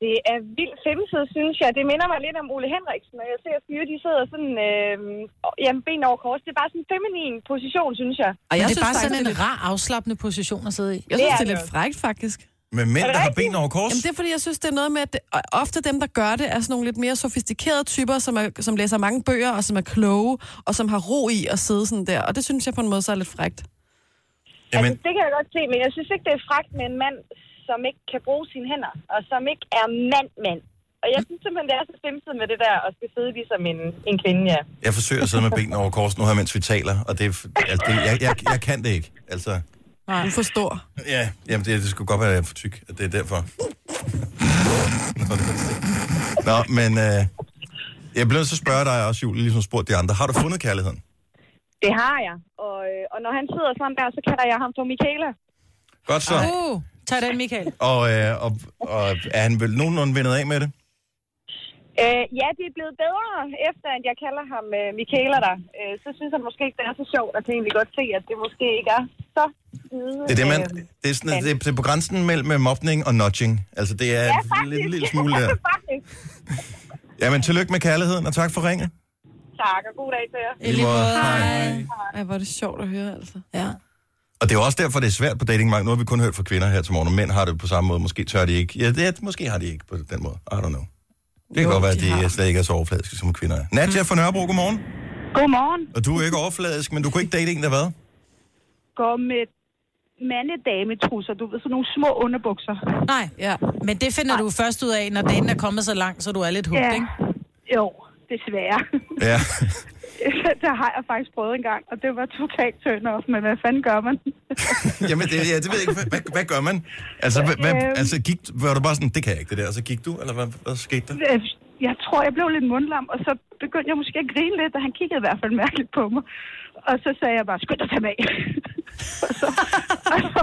E: Det er vildt femset, synes jeg. Det minder mig lidt om Ole Henriksen, og jeg ser fyre, de sidder sådan, øh, jamen, ben over kors. Det er bare sådan en feminin position, synes jeg.
C: Og jeg
B: det er
C: synes
B: bare
C: faktisk,
B: sådan
C: det er
B: en rar, afslappende position at sidde i.
C: lidt- Jeg synes,
E: Det er
C: det er lidt
E: det.
C: frækt, faktisk.
A: Men mænd,
E: Er det
A: der har
E: rigtigt?
A: ben over kors,
C: Jamen, det er fordi, jeg synes, det er noget med, at det, og ofte dem, der gør det, er sådan nogle lidt mere sofistikerede typer, som, er, som læser mange bøger, og som er kloge, og som har ro i at sidde sådan der. Og det synes jeg på en måde så er lidt frækt.
E: Jamen.
A: jamen,
E: Altså, det kan jeg godt se, men jeg synes ikke, det er fragt med en mand, som ikke kan bruge sine hænder, og som ikke er mand-mand. Og jeg synes simpelthen, det er så femset med det der, og skal sidde ligesom en, en kvinde, ja.
A: jeg forsøger at sidde med benene over kors nu her, mens vi taler, og det, er- altså, det jeg, jeg, jeg kan det ikke. Altså,
C: Du forstår.
A: ja, jamen, det, det skulle godt være, at jeg er for tyk, at det er
E: [laughs]
A: derfor. Nå, men øh, jeg blev så spørge dig også, Julie, ligesom spurgte de andre, har du fundet kærligheden?
E: Det har jeg. Og, øh, og når han sidder sådan der, så kalder jeg ham for Michaela.
A: Godt så.
B: Uh, tag den, Michael.
A: Og, øh, og, og er han vel nogenlunde vendet af med det?
E: Øh, ja, det er blevet bedre, efter at jeg kalder ham øh, Michaela der. Øh, så synes han måske ikke, det er så sjovt, og kan egentlig godt se, at det måske ikke er så side.
A: Det er, det, man,
E: øhm,
A: det, er sådan, det, er, det er på grænsen mellem øh, mobning og nudging. Altså, det er
E: ja,
A: en
E: faktisk.
A: lille, lille smule der.
E: [laughs] faktisk.
A: Jamen, tillykke med kærligheden, og tak for ringet.
E: Tak, og god dag til jer.
A: I lige måde. Hej.
C: Ej, hvor er det sjovt at høre, altså.
B: Ja.
A: Og det er jo også derfor, det er svært på datingmarkedet. Nu har vi kun hørt fra kvinder her til morgen, og mænd har det på samme måde. Måske tør de ikke. Ja, det er, måske har de ikke på den måde. I don't know. Det kan
B: Jo,
A: godt være, at
B: de
A: de,
B: har.
A: slet ikke er så overfladiske, som kvinder er. Nadja fra Nørrebro, godmorgen.
E: Godmorgen.
A: Og du er ikke overfladisk, men du kunne ikke date en, der hvad?
E: Går med mandedametrusser, du ved, sådan nogle små underbukser.
B: Nej,
C: Ja.
B: men det finder du først ud af, når dagen er kommet så langt, så du er lidt hugt, ikke?
E: Jo, desværre. [laughs]
A: Ja.
E: det har jeg faktisk prøvet engang, og det var totalt turn off, men hvad fanden gør man?
A: Jamen, det, ja, det ved jeg ikke. Hvad, hvad, hvad gør man? Altså, hvad, hvad,
E: Øhm.
A: altså gik, var du bare sådan, det kan jeg ikke, det der. Og så gik du, eller hvad, hvad skete der?
E: Øh, Jeg tror, jeg blev lidt mundlam, og så begyndte jeg måske at grine lidt, og han kiggede i hvert fald mærkeligt på mig. Og så sagde jeg bare, skynd dig at tage med. [laughs] og så, og så,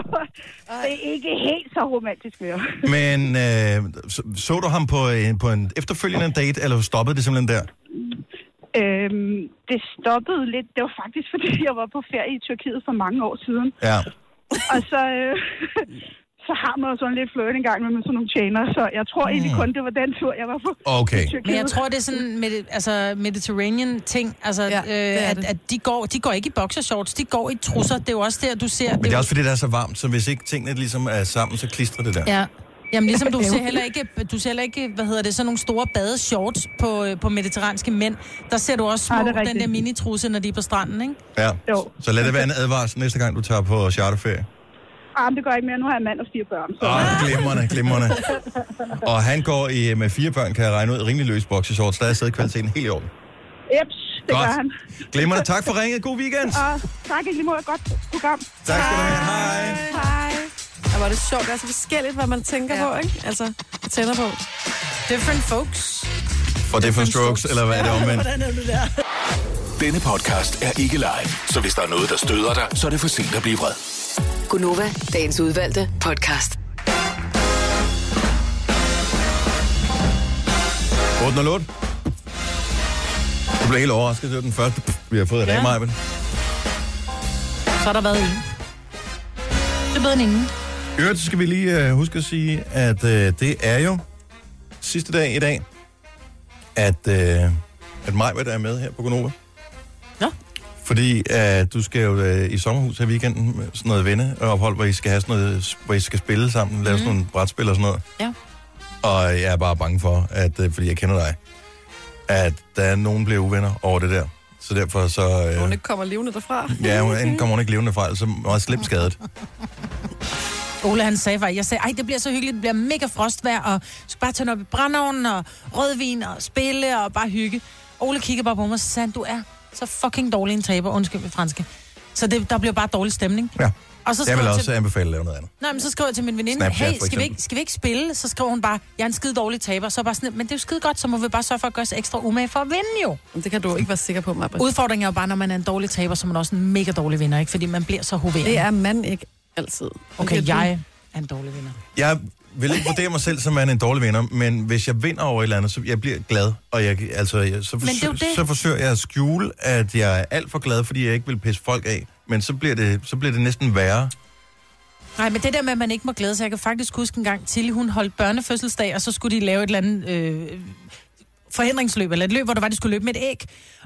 E: det er ikke helt så romantisk mere.
A: Men øh, så, så du ham på, øh, på en efterfølgende date, eller stoppede det simpelthen der?
E: Øhm, det stoppede lidt. Det var faktisk, fordi jeg var på ferie i Tyrkiet for mange år siden.
A: Ja.
E: Og så, øh, [laughs] så har man jo sådan lidt fløjt en gang med, med sådan nogle tjener, så jeg tror egentlig kun, det var den tur, jeg var på
A: Okay.
E: Tyrkiet.
B: Men jeg tror, det er sådan med, altså, mediterranean ting, altså,
C: Ja,
B: ja,
C: det
B: øh,
C: er
B: at,
C: det.
B: at de, går, de går ikke i boxershorts, de går i trusser. Det er jo også der, du ser...
A: Men det er også fordi, det er så varmt, så hvis ikke tingene ligesom er sammen, så klistrer det der.
B: Ja. Jamen
E: [laughs]
B: ligesom du ser heller ikke, du ser heller ikke, hvad hedder det, sådan nogle store badeshorts på, øh, på mediterranske mænd. Der ser du også små,
E: Ej, det er
B: den
E: rigtigt.
B: der minitrusse, når de er på stranden, ikke?
A: Ja.
E: Jo.
A: Så lad det være en advarsel næste gang, du tager på charterferie.
E: Ah, men det gør ikke mere. Nu har jeg en mand og fire børn. Så.
A: Åh, oh, glimrende, glimrende. Og han går i, øh, med fire børn, kan jeg regne ud, rimelig løs boxershorts. Der er siddet kvaliteten helt i orden.
E: Eps, det gør han.
A: Glimrende, tak for ringet. God weekend.
E: Og tak i lige måde. Godt program.
A: Tak skal du have. Hej.
C: Hej. Ja, hvor er det sjovt. Det er så forskelligt, hvad man tænker ja.
B: Ja.
C: på, ikke? Altså, og tænder på.
B: Different folks.
A: For different strokes, eller hvad er det omvendt?
G: Denne podcast er ikke live, så hvis der er noget, der støder dig, så er det for sent at blive vred.
F: Gunova, dagens udvalgte podcast.
A: 808. Du blev helt overrasket. Det var den første, vi har fået i dag,
B: Ja.
A: ja. Majben.
B: Så har der været en. Det er bedre end ingen.
A: I øvrigt så skal vi lige øh, huske at sige, at øh, det er jo sidste dag i dag, at, øh, at Majbert er med her på Gonova.
B: Nå.
A: Fordi øh, du skal jo øh, i sommerhus her i weekenden med sådan noget venneophold, hvor I skal have sådan noget, hvor I skal spille sammen, lave sådan nogle brætspil og sådan noget.
B: Mhm. Ja.
A: Og jeg er bare bange for, at, øh, fordi jeg kender dig, at der er nogen, der bliver uvenner over det der. Så derfor så... Øh,
C: Hun ikke kommer levende derfra.
A: Ja, hun enten kommer hun ikke levende fra, så meget slemt skadet.
B: Ole han sagde faktisk, jeg sagde, ej det bliver så hyggeligt, det bliver mega frostvær, og skal bare tænde op i brændeovnen, og rødvin, og spille, og bare hygge. Ole kigger bare på mig og så sagde, han, du er så fucking dårlig en taber, undskyld mit franske. Så det, der blev bare dårlig stemning.
A: Ja.
B: Og [laughs] så
A: Jeg
B: skrev
A: vil
B: jeg
A: også
B: til,
A: anbefale at lave noget andet.
B: nej, men så skrev jeg til min veninde,
A: Snapchat,
B: hey,
A: for
B: skal
A: eksempel.
B: vi, ikke, skal vi ikke spille? Så skrev hun bare, jeg er en skide dårlig taber. Så bare sådan, men det er jo skide godt, så må vi bare sørge for at gøre os ekstra umage for at vinde jo.
C: Men det kan du ikke være sikker på, Mabel.
B: Udfordringen er jo bare, når man er en dårlig taber, så er man også en mega dårlig vinder, ikke? Fordi man bliver så
C: Det
B: hoveret.
C: er man ikke altid.
B: Okay, jeg er en dårlig vinder.
A: Jeg vil ikke vurdere mig selv som værende en dårlig vinder, men hvis jeg vinder over et eller andet, så jeg bliver glad. Og jeg, altså, jeg, så,
B: det er jo det.
A: forsøger, så forsøger jeg at skjule, at jeg er alt for glad, fordi jeg ikke vil pisse folk af. Men så bliver det, så bliver det næsten værre.
B: Nej, men det der med, at man ikke må glæde sig. Jeg kan faktisk huske en gang til, hun holdt børnefødselsdag, og så skulle de lave et eller andet øh, forhindringsløb, eller et løb, hvor det var, de skulle løbe med et æg.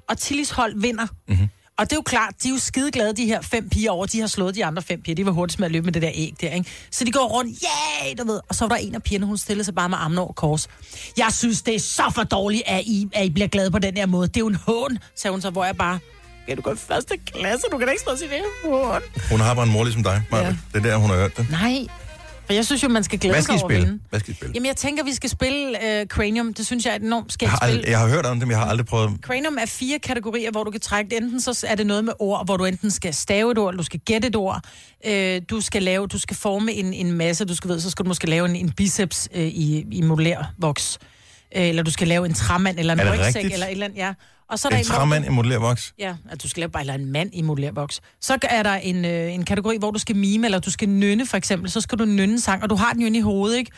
B: Og Tillis hold vinder.
A: Mhm.
B: Mm-hmm. Og det er jo klart, de er jo skideglade, de her fem piger over. De har slået de andre fem piger. De var hurtigst med at løbe med det der æg der, ikke? Så de går rundt, yeah, du ved. Og så var der en af pigerne, hun stillede sig bare med armene over kors. Jeg synes, det er så for dårligt, at I, at I bliver glade på den her måde. Det er jo en hån, sagde hun så, hvor jeg bare... Ja, du går i første klasse, du kan da ikke stå og sige, det er en hån.
A: Hun har bare en mor ligesom dig, Maja.
C: Ja.
A: Det er der, hun har hørt det.
B: Nej, for jeg synes jo, man skal glæde
A: Hvad skal I
B: sig over
A: spille?
B: hende.
A: Hvad skal I spille?
B: Jamen, jeg tænker, vi skal spille øh, Cranium. Det synes jeg er et enormt skægt
A: Jeg har,
B: spil.
A: aldrig, jeg har hørt om dem, jeg har aldrig prøvet dem.
B: Cranium er fire kategorier, hvor du kan trække det. Enten så er det noget med ord, hvor du enten skal stave et ord, eller du skal gætte et ord. Øh, du skal lave, du skal forme en, en masse. Du skal ved, så skal du måske lave en, en biceps øh, i, i modellær voks. Øh, eller du skal lave en træmand, eller en
A: Er det
B: rygsæk,
A: rigtigt?
B: eller et eller andet. Ja. Og så er der
A: En
B: en, hvor du-
A: træmand i modellervoks.
B: Ja, at du skal lave bare eller en mand i modellervoks. Så er der en, øh, en kategori, hvor du skal mime, eller du skal nynne for eksempel. Så skal du nynne en sang, og du har den jo inde i hovedet, ikke?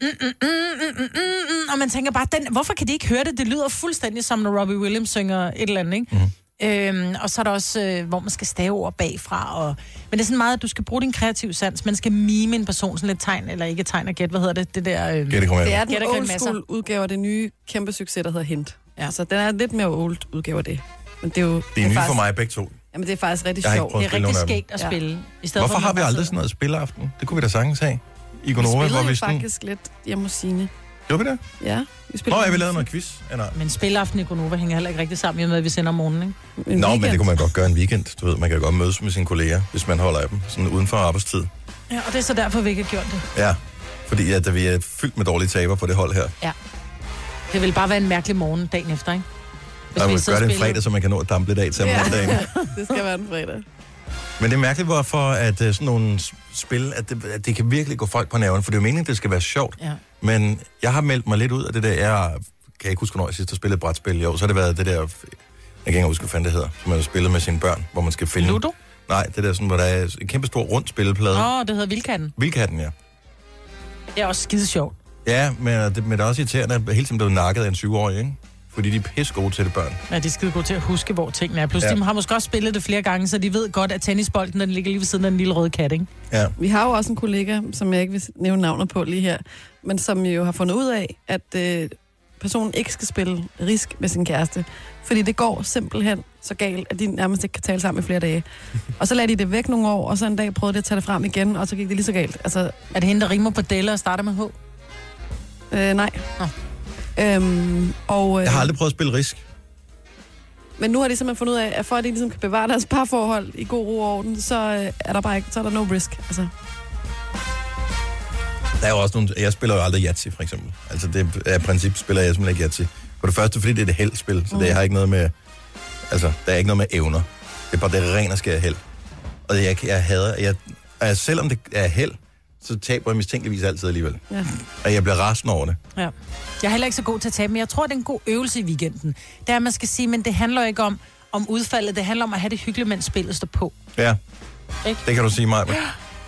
A: Mhm.
B: Mm, mm, mm, mm, mm, mm, mm, og man tænker bare, den, hvorfor kan de ikke høre det? Det lyder fuldstændig som, når Robbie Williams synger et eller andet, ikke? Mm. Øhm, og så er der også, øh, hvor man skal stave ord bagfra. Og, men det er sådan meget, at du skal bruge din kreative sans. Man skal mime en person sådan lidt tegn, eller ikke tegn og gæt. Hvad hedder det? Det der... Øh,
A: Kan det komme
C: Det
A: af?
C: er den
B: Gæt og grimasser.
C: old school udgave af det nye kæmpe succes, der hedder Hint.
B: Ja.
C: Ja. Altså, den er lidt mere old udgave af det. Men det er jo
A: Det er nye for
C: faktisk,
A: mig begge to.
C: Jamen, det er faktisk rigtig
A: Jeg har ikke
C: sjovt.
A: prøvet.
B: det
A: at spille
B: er rigtig
A: nogle af dem.
B: skægt at
C: Ja.
B: spille. I stedet
A: Hvorfor
B: for,
A: har vi aldrig
B: sådan
A: sådan noget spilleaften? Det kunne vi da sagings have. I
C: Vi
A: Gonova, hvor
C: spillede
A: vi
C: jo
A: sådan...
C: faktisk lidt hjemme hos Signe.
A: Gjorde vi det?
C: Ja, vi
A: Nå,
C: spillede
A: jeg vil lave noget quiz. Ja, nej.
B: Men spilleaften i Gonova hænger heller ikke rigtig sammen i og med, at vi sender om morgenen, ikke?
C: en
A: Nå, men det
C: weekend.
A: kunne man godt gøre en weekend. Du ved, man kan godt mødes med sine kolleger, hvis man holder af dem, sådan uden for arbejdstid.
B: Ja, og det er så derfor, vi ikke har gjort det.
A: Ja, fordi at vi er fyldt med dårlige taber på det hold her.
B: Ja. Det vil bare være en mærkelig morgen dagen efter, ikke? Hvis
A: Der
B: vi
A: man
B: sidder
A: gøre det en
B: og spiller-
A: fredag, så man kan nå at dampe lidt af til om
C: Ja.
A: mandagen.
C: Det skal være en fredag.
A: Men det er mærkeligt, hvorfor at øh, sådan nogle s- spil, at det, at det kan virkelig gå folk på nerven, for det er jo meningen, at det skal være sjovt.
B: Ja.
A: Men jeg har meldt mig lidt ud af det der, jeg kan ikke huske, hvornår jeg sidst har spillet et brætspil. Jo, så har det været det der, jeg kan ikke engang huske, hvad fanden det hedder, som man spiller med sine børn, hvor man skal finde...
B: Ludo?
A: Nej, det der sådan, hvor der er en kæmpe stor rund spilleplade.
B: Åh,
A: Oh.
B: oh, det hedder Vildkatten.
A: Vildkatten, ja.
B: Det er også skide sjovt.
A: Ja, men øh, det, men det er også irriterende, at jeg hele tiden blev nakket af en syvårig, ikke? Fordi de er pisse gode til det, børn.
B: Ja, de er skide gode til at huske, hvor tingene er. Plus,
A: Ja.
B: ja. de har måske også spillet det flere gange, så de ved godt, at tennisbolden den ligger lige ved siden af den lille røde kat, ikke?
A: Ja.
C: Vi har jo også en kollega, som jeg ikke vil nævne navnet på lige her, men som jo har fundet ud af, at øh, personen ikke skal spille risk med sin kæreste, fordi det går simpelthen så galt, at de nærmest ikke kan tale sammen i flere dage. Og så lagde de det væk nogle år, og så en dag prøvede de at tage det frem igen, og så gik det lige så galt. Altså,
B: Er det hende, der rimer på Della og starter med H?
C: øh, nej.
B: Nå.
C: Øhm, og, øh,
A: Jeg har aldrig prøvet at spille risk.
C: Men nu har de simpelthen fundet ud af, at for at de ligesom kan bevare deres parforhold i god ro og orden, så øh, er der bare ikke, så er der no risk. Altså,
A: Der er jo også nogle, jeg spiller jo aldrig Yahtzee, for eksempel. Altså, det er i princip spiller jeg simpelthen ikke Yahtzee. For det første, fordi det er et heldspil, så det har ikke noget med... Altså, der er ikke noget med evner. Det er bare det rene og skære held. Og jeg, jeg hader... Jeg, og selvom det er held, så taber jeg mistænkeligvis altid alligevel.
C: ja.
A: Og jeg bliver rasende over det.
B: Ja. Jeg er heller ikke så god til at tabe, men jeg tror, det er en god øvelse i weekenden. Det er, at man skal sige, men det handler jo ikke om, om udfaldet. Det handler om at have det hyggeligt, mens spillet står på.
A: Ja,
B: Ikke?
A: det kan du sige mig.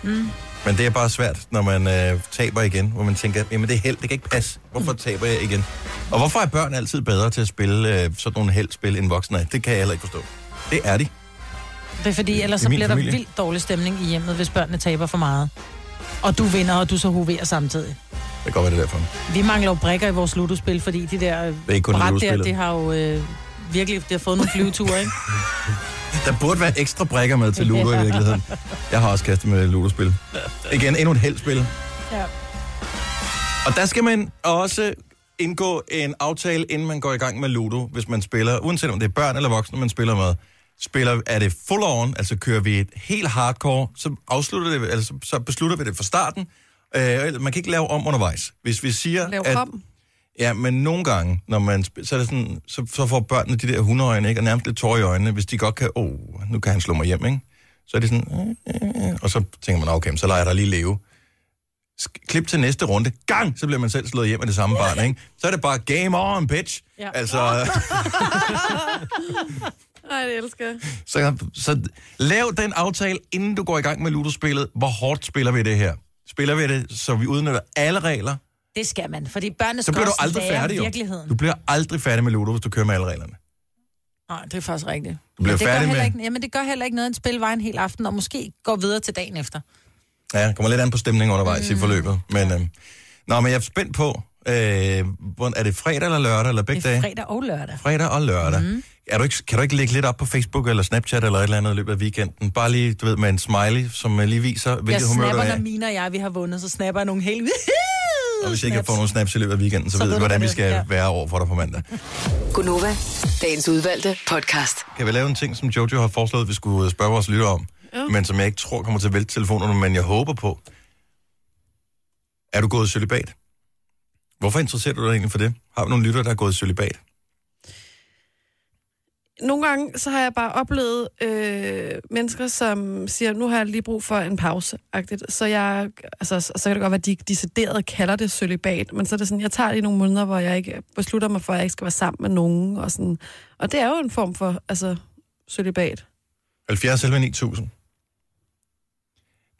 A: Men, men det er bare svært, når man øh, taber igen, hvor man tænker, jamen det er held, det kan ikke passe. Hvorfor taber jeg igen? Og hvorfor er børn altid bedre til at spille øh, sådan nogle heldspil end voksne? er? Det kan jeg heller ikke forstå. Det er de.
B: Det er fordi, ellers
A: i
B: så
A: min
B: bliver
A: familie.
B: der vildt dårlig stemning i hjemmet, hvis børnene taber for meget. Og du vinder, og du så hoverer samtidig.
A: Det kan godt være, det er derfor.
B: Vi mangler jo brikker i vores ludospil, fordi de der øh,
A: er ikke kun
B: bræt der,
A: ludospillet.
B: det har jo øh, virkelig det har fået nogle flyveture, ikke?
A: Der burde være ekstra brækker med til Ludo i virkeligheden. Jeg har også kastet med Ludo-spil. Igen, endnu et heldspil.
B: Ja.
A: Og der skal man også indgå en aftale, inden man går i gang med Ludo, hvis man spiller, uanset om det er børn eller voksne, man spiller med. Spiller, er det full on, altså kører vi et helt hardcore, så, afslutter det, altså, så beslutter vi det fra starten. Øh, man kan ikke lave om undervejs. Hvis vi siger,
C: Lav
A: at,
C: om.
A: Ja, men nogle gange, når man sp- så, er det sådan, så, så får børnene de der hundeøjne, ikke? Og nærmest lidt tårer i øjnene, hvis de godt kan, åh, oh, nu kan han slå mig hjem, ikke? Så er det sådan, øh, øh, øh, og så tænker man, "Nå, okay, men så lader jeg dig lige leve. Sk- klip til næste runde, gang, så bliver man selv slået hjem af det samme barn, ikke? Så er det bare, game on, bitch! Ja.
B: Ja.
A: Altså, [laughs]
C: Ej, det elsker jeg.
A: så, så lav den aftale, inden du går i gang med ludospillet. Hvor hårdt spiller vi det her? Spiller vi det, så vi udnytter alle regler?
B: Det skal man, fordi børnene
A: Så
B: skal
A: bliver du
B: også
A: aldrig
B: lære
A: færdig, jo.
B: virkeligheden.
A: Du bliver aldrig færdig med ludo, hvis du kører med alle reglerne.
B: Nej, det er faktisk rigtigt.
A: Du bliver
B: Men det gør
A: færdig
B: heller
A: med-
B: Ikke, jamen, det gør heller ikke noget, en spil var en hel aften, og måske går videre til dagen efter.
A: Ja, det kommer lidt an på stemningen undervejs mm. i forløbet. Men, øhm, nå, men jeg er spændt på, øh, hvor- er det fredag eller lørdag, eller begge
B: Det er
A: dage?
B: fredag og lørdag.
A: Fredag og lørdag. Mm. Er du ikke, kan du ikke lægge lidt op på Facebook eller Snapchat eller et eller andet i løbet af weekenden? Bare lige, du ved, med en smiley, som øh, lige viser,
B: Jeg
A: hvilket humør du
B: snapper,
A: er
B: når
A: i.
B: Mina og jeg vi har vundet, så snapper jeg nogle helt...
A: Og hvis jeg ikke får nogen snaps i løbet af weekenden, så, så ved du, hvordan vi
B: det er.
A: skal ja.
B: Ja.
A: være over for dig på mandag.
F: Gunova, dagens udvalgte podcast.
A: Kan vi lave en ting, som Jojo har foreslået, vi skulle spørge vores lytter om, ja. men som jeg ikke tror kommer til at vælte telefonerne, men jeg håber på. Er du gået i celibat? Hvorfor interesserer du dig egentlig for det? Har vi nogle lytter, der er gået i celibat?
C: nogle gange, så har jeg bare oplevet øh, mennesker, som siger, nu har jeg lige brug for en pause. -agtigt. Så, jeg, altså, så så kan det godt være, at de decideret kalder det sølibat, men så er det sådan, jeg tager lige nogle måneder, hvor jeg ikke beslutter mig for, at jeg ikke skal være sammen med nogen. Og, sådan. og det er jo en form for altså, sølibat.
A: 70 eller 9000?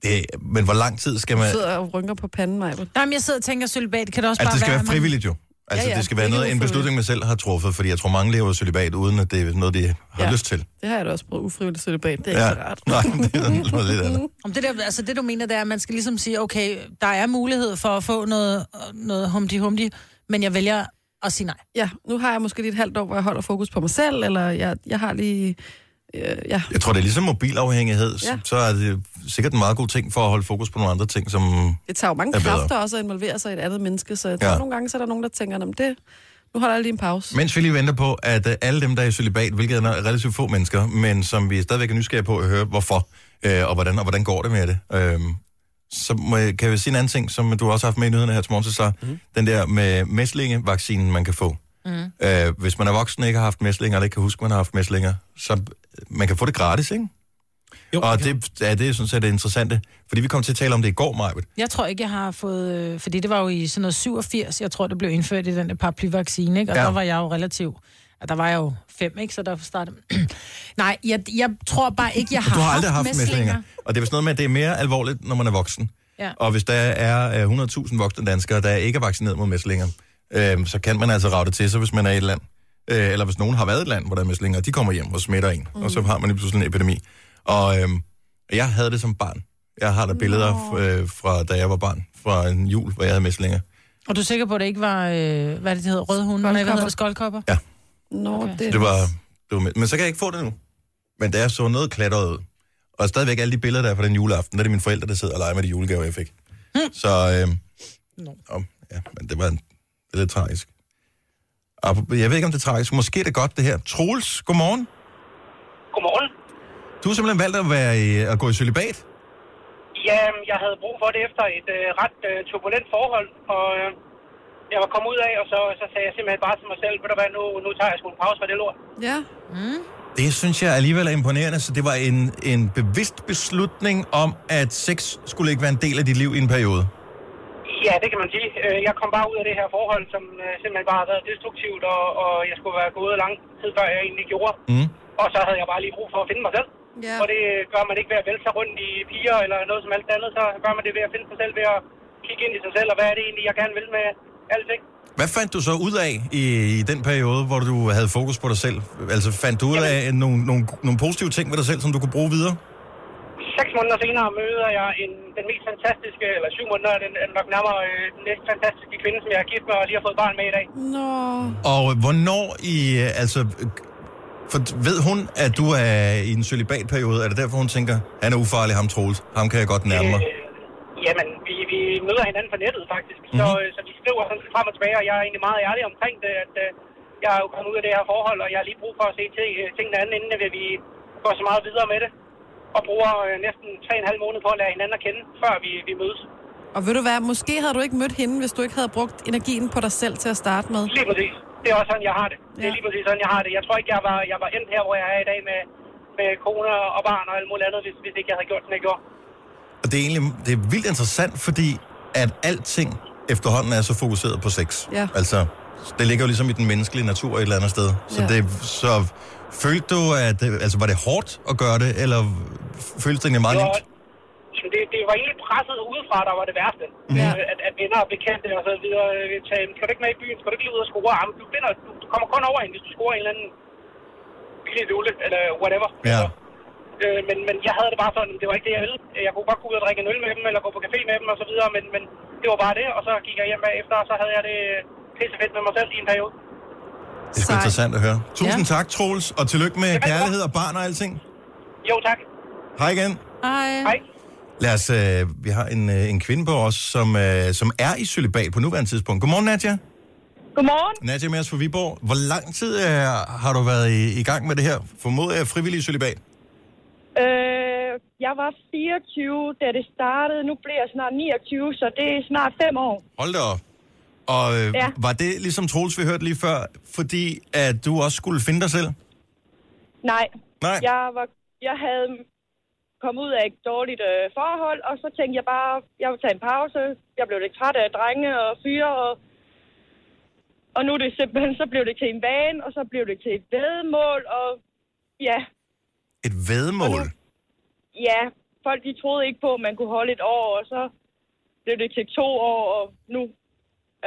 A: Det, men hvor lang tid skal
C: Du
A: man...
C: sidder og rynker på panden, mig.
B: Jamen, jeg sidder og tænker, Sølbat, kan det også
A: Altså,
B: bare
A: det skal
B: være...
A: være
B: at man-
A: frivilligt jo. Altså,
C: Ja, ja,
A: det skal være
C: det er
A: noget, en
C: ufrivilligt.
A: beslutning, man selv har truffet, fordi jeg tror, mange lever celibat, uden at det er noget, de har
C: Ja.
A: lyst til.
C: Det har jeg da også prøvet ufrivilligt celibat. Det er ja. ikke så rart.
A: Nej, [laughs] det er noget lidt andet.
B: Om det, der, altså det du mener, det er, at man skal ligesom sige, okay, der er mulighed for at få noget, noget humdi-humdi, men jeg vælger at sige nej.
C: Ja, nu har jeg måske lige et halvt år, hvor jeg holder fokus på mig selv, eller jeg, jeg har lige... Øh, ja,
A: Jeg tror, det er ligesom mobilafhængighed, ja.
C: Ja.
A: så er det sikkert en meget god ting for at holde fokus på nogle andre ting, som...
C: det tager jo mange
A: Er bedre.
C: kræfter også at involvere sig i et andet menneske, så jeg tror,
A: Ja.
C: ja. nogle gange så er der nogen, der tænker, om det, nu holder jeg lige en pause.
A: Mens vi lige venter på, at øh, alle dem, der er i celibat, hvilket er relativt få mennesker, men som vi stadigvæk er nysgerrige på at høre, hvorfor øh, og hvordan, og hvordan går det med det. Øhm, så må, jeg- kan jeg sige en anden ting, som du også har haft med i nyhederne her til morgen, så, så mm. den der med mæslingevaccinen, man kan få. Mm. Øh, hvis man er voksen og ikke har haft mæslinger, eller ikke kan huske, man har haft mæslinger, så øh, man kan få det gratis, ikke? Jo, og det, ja, det synes jeg, det er interessant, fordi vi kom til at tale om det i går, Majbet.
B: Jeg tror ikke, jeg har fået... øh, Fordi det var jo i sådan noget 87, jeg tror, det blev indført i den der paraplyvaccine, ikke? Og
A: Ja.
B: ja. der var jeg jo relativ... Ja, der var jeg jo fem, ikke? Så der startede... [clears throat] Nej, jeg, jeg tror bare ikke, jeg har,
A: Du har aldrig haft
B: mæslinger.
A: mæslinger. Og det er vist noget med, at det er mere alvorligt, når man er voksen.
B: Ja.
A: Og hvis der er øh, 100.000 voksne danskere, der ikke er vaccineret mod mæslinger, øh, så kan man altså rave det til sig, hvis man er i et land. Øh, eller hvis nogen har været i et land, hvor der er mæslinger, og de kommer hjem og smitter en. Mm. Og så har man lige pludselig en epidemi. Og øh, jeg havde det som barn. Jeg har der billeder øh, fra, da jeg var barn, fra en jul, hvor jeg havde mæslinger.
B: Og du er sikker på, at det ikke var... Øh, hvad er det, det hedder? Rødhunde? Nej, hvad hedder det? Skoldkopper?
C: Nå, okay.
A: Det var, det var, med- men så kan jeg ikke få det nu. Men da jeg så noget klatret ud, og stadigvæk alle de billeder, der er fra den juleaften, der er det mine forældre, der sidder og leger med de julegaver, jeg fik. Så, øh,
B: Nå.
A: no. ja, men det var en, det er lidt tragisk. Apropos- Jeg ved ikke, om det er tragisk. Måske er det godt, det her. Troels, godmorgen.
K: Godmorgen.
A: Du har simpelthen valgt at, være i, at gå i celibat.
K: Ja, jeg havde brug for det efter et øh, ret øh, turbulent forhold, og øh, jeg var kommet ud af, og så, så sagde jeg simpelthen bare til mig selv, ved du hvad, nu, nu tager jeg sgu en pause fra det lort.
C: Ja,
A: Det synes jeg alligevel er imponerende, så det var en, en bevidst beslutning om, at sex skulle ikke være en del af dit liv i en periode.
K: Ja, det kan man sige. Øh, Jeg kom bare ud af det her forhold, som øh, simpelthen bare har været destruktivt, og, og jeg skulle være gået lang tid, før jeg egentlig gjorde.
A: Mm.
K: Og så havde jeg bare lige brug for at finde mig selv.
C: Ja.
K: Og det øh, gør man ikke ved at vælge sig rundt i piger eller noget som alt andet, så gør man det ved at finde sig selv, ved at kigge ind i sig selv, og hvad er det egentlig, jeg gerne vil med alting.
A: Hvad fandt du så ud af i, i den periode, hvor du havde fokus på dig selv? Altså fandt du ud af nogle, nogle, nogle positive ting ved dig selv, som du kunne bruge videre?
K: Seks måneder senere møder jeg en, den mest fantastiske, eller syv måneder, den er nok nærmere øh, den næst fantastiske kvinde, som jeg er gift med og lige har fået barn med i dag.
C: nå,
A: Og hvornår i, øh, altså, øh, for ved hun, at du er i en celibatperiode? Er det derfor, hun tænker, han er ufarlig, ham Troels, ham kan jeg godt nærme mig?
K: Øh, jamen, vi, vi møder hinanden på nettet faktisk, så, øh, så vi skriver sådan frem og tilbage, og jeg er egentlig meget ærlig omkring det, at øh, jeg er jo kommet ud af det her forhold, og jeg har lige brug for at se til, øh, tingene anden, inden at vi går så meget videre med det, og bruger øh, næsten tre og en halv måned på at lære hinanden at kende, før vi, vi mødes.
C: Og ved du hvad, måske havde du ikke mødt hende, hvis du ikke havde brugt energien på dig selv til at starte med.
K: Lige præcis. Det er også sådan, jeg har det. Det er
C: Ja.
K: lige præcis sådan, jeg har det. Jeg tror ikke, jeg var, jeg var endt her, hvor jeg er i dag med, med kone og barn og alt muligt andet, hvis, hvis ikke jeg havde gjort, som jeg gjorde.
A: Og det er egentlig det er vildt interessant, fordi at alting efterhånden er så fokuseret på sex.
C: Ja.
A: Altså, det ligger jo ligesom i den menneskelige natur et eller andet sted. Så,
C: Ja.
A: det, så følte du, at øh, altså, var det hårdt at gøre det, eller føltes det egentlig meget
K: Det var,
A: nemt?
K: jamen, det, det var egentlig presset udefra, der var det værste.
C: Ja.
K: Øh, At, at venner og bekendte og så videre øh, tage, "Men skal du ikke med i byen, skal du ikke lige ud og score? Jamen, du, finder, du, du kommer kun over en, hvis du scorer en eller anden billig dulle, eller whatever.
A: Ja.
K: Øh, men, men jeg havde det bare sådan, det var ikke det, jeg ville. Jeg kunne godt gå ud og drikke en øl med dem, eller gå på café med dem og så videre, men, men det var bare det, og så gik jeg hjem bagefter, og så havde jeg det øh, pissefedt med mig selv i en periode.
A: Det er sgu
C: Sej.
A: interessant at høre. Tusind ja.
C: Ja.
A: tak, Troels, og tillykke med
K: godt.
A: kærlighed og barn og alting.
K: Jo, tak.
A: Hej igen.
K: Hej.
A: Lad os, øh, vi har en, øh, en kvinde på os, som, øh, som er i celibat på nuværende tidspunkt. Godmorgen, Nadja.
E: Godmorgen.
A: Nadja er med os fra Viborg. Hvor lang tid øh, har du været i, i gang med det her? Formoder jeg frivillig celibat?
E: Øh, jeg var 24, da det startede. Nu bliver jeg snart 29, så det er snart 5 år.
A: Hold da op. Og øh, ja.
E: Ja.
A: var det ligesom Troels, vi hørte lige før, fordi at du også skulle finde dig selv?
E: Nej.
A: Nej.
E: [laughs] Jeg, var, jeg havde kommet ud af et dårligt øh, forhold, og så tænkte jeg bare, jeg vil tage en pause. Jeg blev lidt træt af drenge og fyre, og, og nu er det simpelthen, så blev det til en vane, og så blev det til et vedmål, og ja,
A: Et vedmål?
E: ja, folk de troede ikke på, at man kunne holde et år, og så blev det til to år, og nu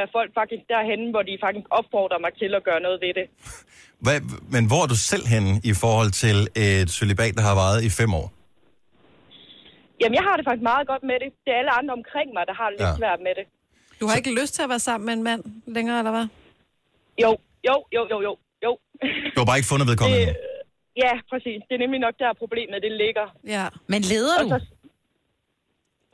L: er folk faktisk derhen, hvor de faktisk opfordrer mig til at gøre noget ved det.
A: Hvad, men hvor er du selv henne i forhold til et celibat, der har varet i fem år?
L: Jamen, jeg har det faktisk meget godt med det. Det er alle andre omkring mig, der har det lidt
A: Ja.
L: ja. svært med det.
C: Du har så... ikke lyst til at være sammen med en mand længere, eller hvad?
L: Jo, jo, jo, jo, jo, jo. [laughs]
A: Du har bare ikke fundet vedkommende
L: Øh,
A: endnu.
L: ja, præcis. Det er nemlig nok der, problemet det ligger.
C: Ja.
B: Men leder
L: Og
B: du?
L: så...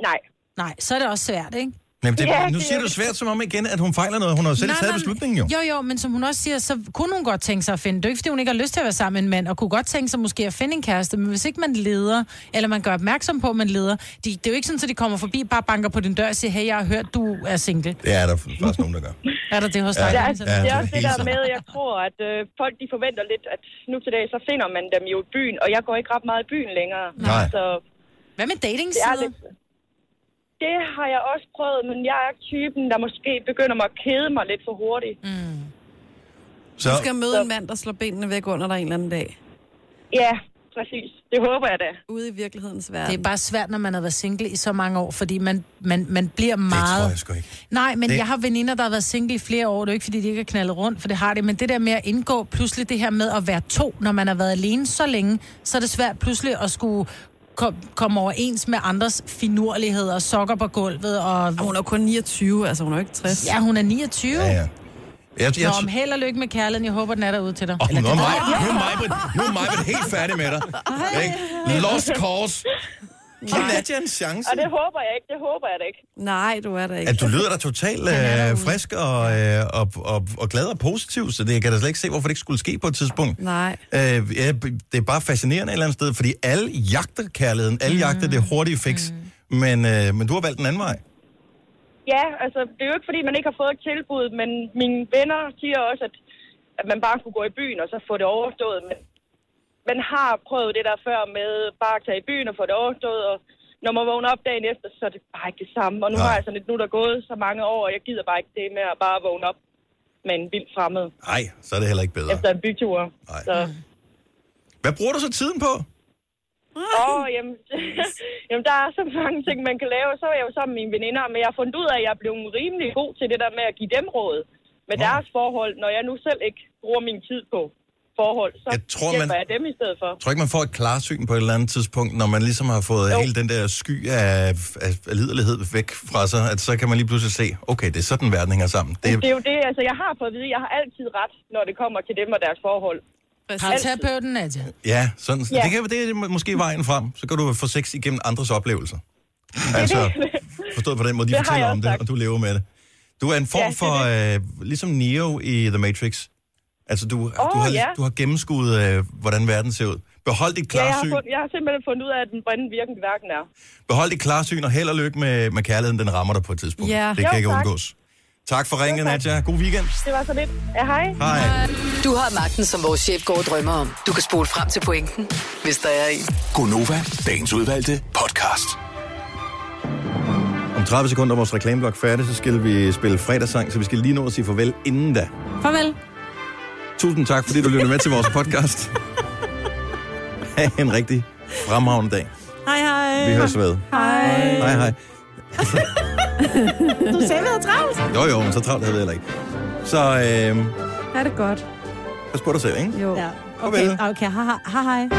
L: Nej,
B: Nej, så er det også svært, ikke?
A: Jamen, det,
L: Ja,
A: nu
L: det er
A: siger du
L: det.
A: svært som om igen, at hun fejler noget. Hun har jo selv
B: Nej,
A: taget
B: nej,
A: beslutningen jo.
B: Jo, jo, men som hun også siger, så kunne hun godt tænke sig at finde. Det er jo ikke, fordi hun ikke har lyst til at være sammen med en mand, og kunne godt tænke sig måske at finde en kæreste, men hvis ikke man leder, eller man gør opmærksom på, at man leder, de, det er jo ikke sådan, at de kommer forbi, bare banker på din dør og siger, hey, jeg har hørt, du er single.
A: Det er der faktisk nogen, der gør.
B: Er der det hos
A: Ja,
B: dig?
L: det er,
B: Dennis?
A: ja.
L: det er også
A: det er
L: det der
A: helt
L: med, at jeg tror, at øh, folk de forventer lidt, at nu til dag, så finder man dem jo i byen, og jeg går ikke ret meget i byen længere.
A: Nej.
L: Så
B: Hvad med dating
L: det er lidt... Det har jeg også prøvet, men jeg er typen, der måske begynder mig at kede mig lidt for hurtigt. Mm.
A: Så,
C: Du skal møde en mand, der slår benene væk under dig en eller anden dag.
L: Ja, præcis. Det håber jeg da.
C: Ude i virkelighedens verden.
B: Det er bare svært, når man har været single i så mange år, fordi man, man, man bliver
A: det
B: meget...
A: tror jeg sgu ikke.
B: Nej, men
A: Det-
B: det... jeg har veninder, der har været single i flere år. Det er jo ikke, fordi de ikke har knaldet rundt, for det har det. Men det der med at indgå pludselig det her med at være to, når man har været alene så længe, så er det svært pludselig at skulle kom, komme overens med andres finurligheder, sokker på gulvet og...
C: Og hun er kun 29, altså hun er jo ikke 60.
B: Ja, hun er 29.
A: Ja, ja. Jeg,
B: Nå,
A: jeg,
B: om held og lykke med kærligheden. Jeg håber, den er derude til dig.
A: Åh,
B: Eller
A: nu er
B: det-
A: mig, nu er mig, nu er mig helt færdig med dig. Ikke? Lost cause. Giv Nadia en chance.
L: Og det håber jeg ikke, det håber jeg da ikke.
C: Nej, du er der ikke.
A: At du lyder da totalt øh, frisk og, øh, og, og, og glad og positiv, så det, jeg kan da slet ikke se, hvorfor det ikke skulle ske på et tidspunkt.
C: Nej.
A: Øh, ja, b- det er bare fascinerende et eller andet sted, fordi alle jagter kærligheden, alle jagter
L: Mm.
A: det hurtige fix, men, øh, men du har valgt en anden vej.
L: Ja, altså, det er jo ikke, fordi man ikke har fået et tilbud, men mine venner siger også, at, at man bare kunne gå i byen og så få det overstået. Men man har prøvet det der før med bare at tage i byen og få det overstået, og når man vågner op dagen efter, så er det bare ikke det samme. Og nu
A: Nej.
L: har jeg sådan lidt, nu er der gået så mange år, og jeg gider bare ikke det med at bare vågne op med en vild fremmed
A: Nej, så er det heller ikke bedre.
L: efter en bytur.
A: Nej.
L: Så,
A: Hvad bruger du så tiden på?
L: åh, jamen, [laughs] jamen, der er så mange ting, man kan lave. Og så er jeg jo sammen med mine veninder, men jeg har fundet ud af, at jeg er blevet rimelig god til det der med at give dem råd med
A: Nå.
L: deres forhold, når jeg nu selv ikke bruger min tid på forhold. Så
A: Jeg tror,
L: hjælper
A: man-
L: jeg dem i stedet for.
A: Jeg tror ikke, man får et klarsyn på et eller andet tidspunkt, når man ligesom har fået jo.
L: Jo.
A: hele den der sky af, af, af liderlighed væk fra sig, at så kan man lige pludselig se, okay, det er sådan, verden hænger sammen. Det,
L: Det er jo det, altså jeg har fået at vide, jeg har altid ret, når det kommer til dem og deres forhold.
B: Parterapeuten, Nadia.
A: ja, sådan, ja.
L: Ja.
A: Det, kan, det er må- måske vejen frem. Så kan du få sex igennem andres oplevelser. Altså, forstået på den måde, de
L: Det har
A: fortæller
L: jeg
A: om
L: også
A: det,
L: sagt.
A: og du lever med det. Du er en form
L: Ja,
A: ja,
L: det
A: for,
L: er
A: øh, ligesom Neo i The Matrix. Altså, du, oh, du, har,
L: ja.
A: du har gennemskuet, øh, hvordan verden ser ud. Behold dit
L: Ja, [laughs] jeg, har
A: klarsyn,
L: fund, jeg har simpelthen fundet ud af, at den brændende virkende hverken er.
A: Behold dit klarsyn, og held og lykke med, med kærligheden. Den rammer dig på et tidspunkt.
C: Ja.
A: Det kan
L: Jo,
A: ikke
L: tak.
A: undgås. Tak for ringen,
L: Jo, tak.
A: Nadja. God weekend.
L: Det var så lidt. Ja, hej.
A: Hej.
F: Du har magten, som vores chef går og drømmer om. Du kan spole frem til pointen, hvis der er en.
M: Gonova, dagens udvalgte podcast.
A: Om 30 sekunder er vores reklameblok færdig, så skal vi spille fredagssang, så vi skal lige nå at sige farvel inden da.
B: Farvel.
A: Tusind tak, fordi du lyttede med til vores
C: [laughs]
A: podcast. Ha' en rigtig fremragende dag.
C: Hej, hej.
A: Vi høres ved.
C: Hej.
A: Hej, hej.
C: [laughs] Du sagde, vi havde travlt.
A: Jo, jo, men så travlt havde vi heller ikke. Så øh,
N: Er det godt?
A: pas på dig selv, ikke?
N: Jo. Ja.
A: Farvel.
N: Okay, okay. Ha, ha, ha, hej.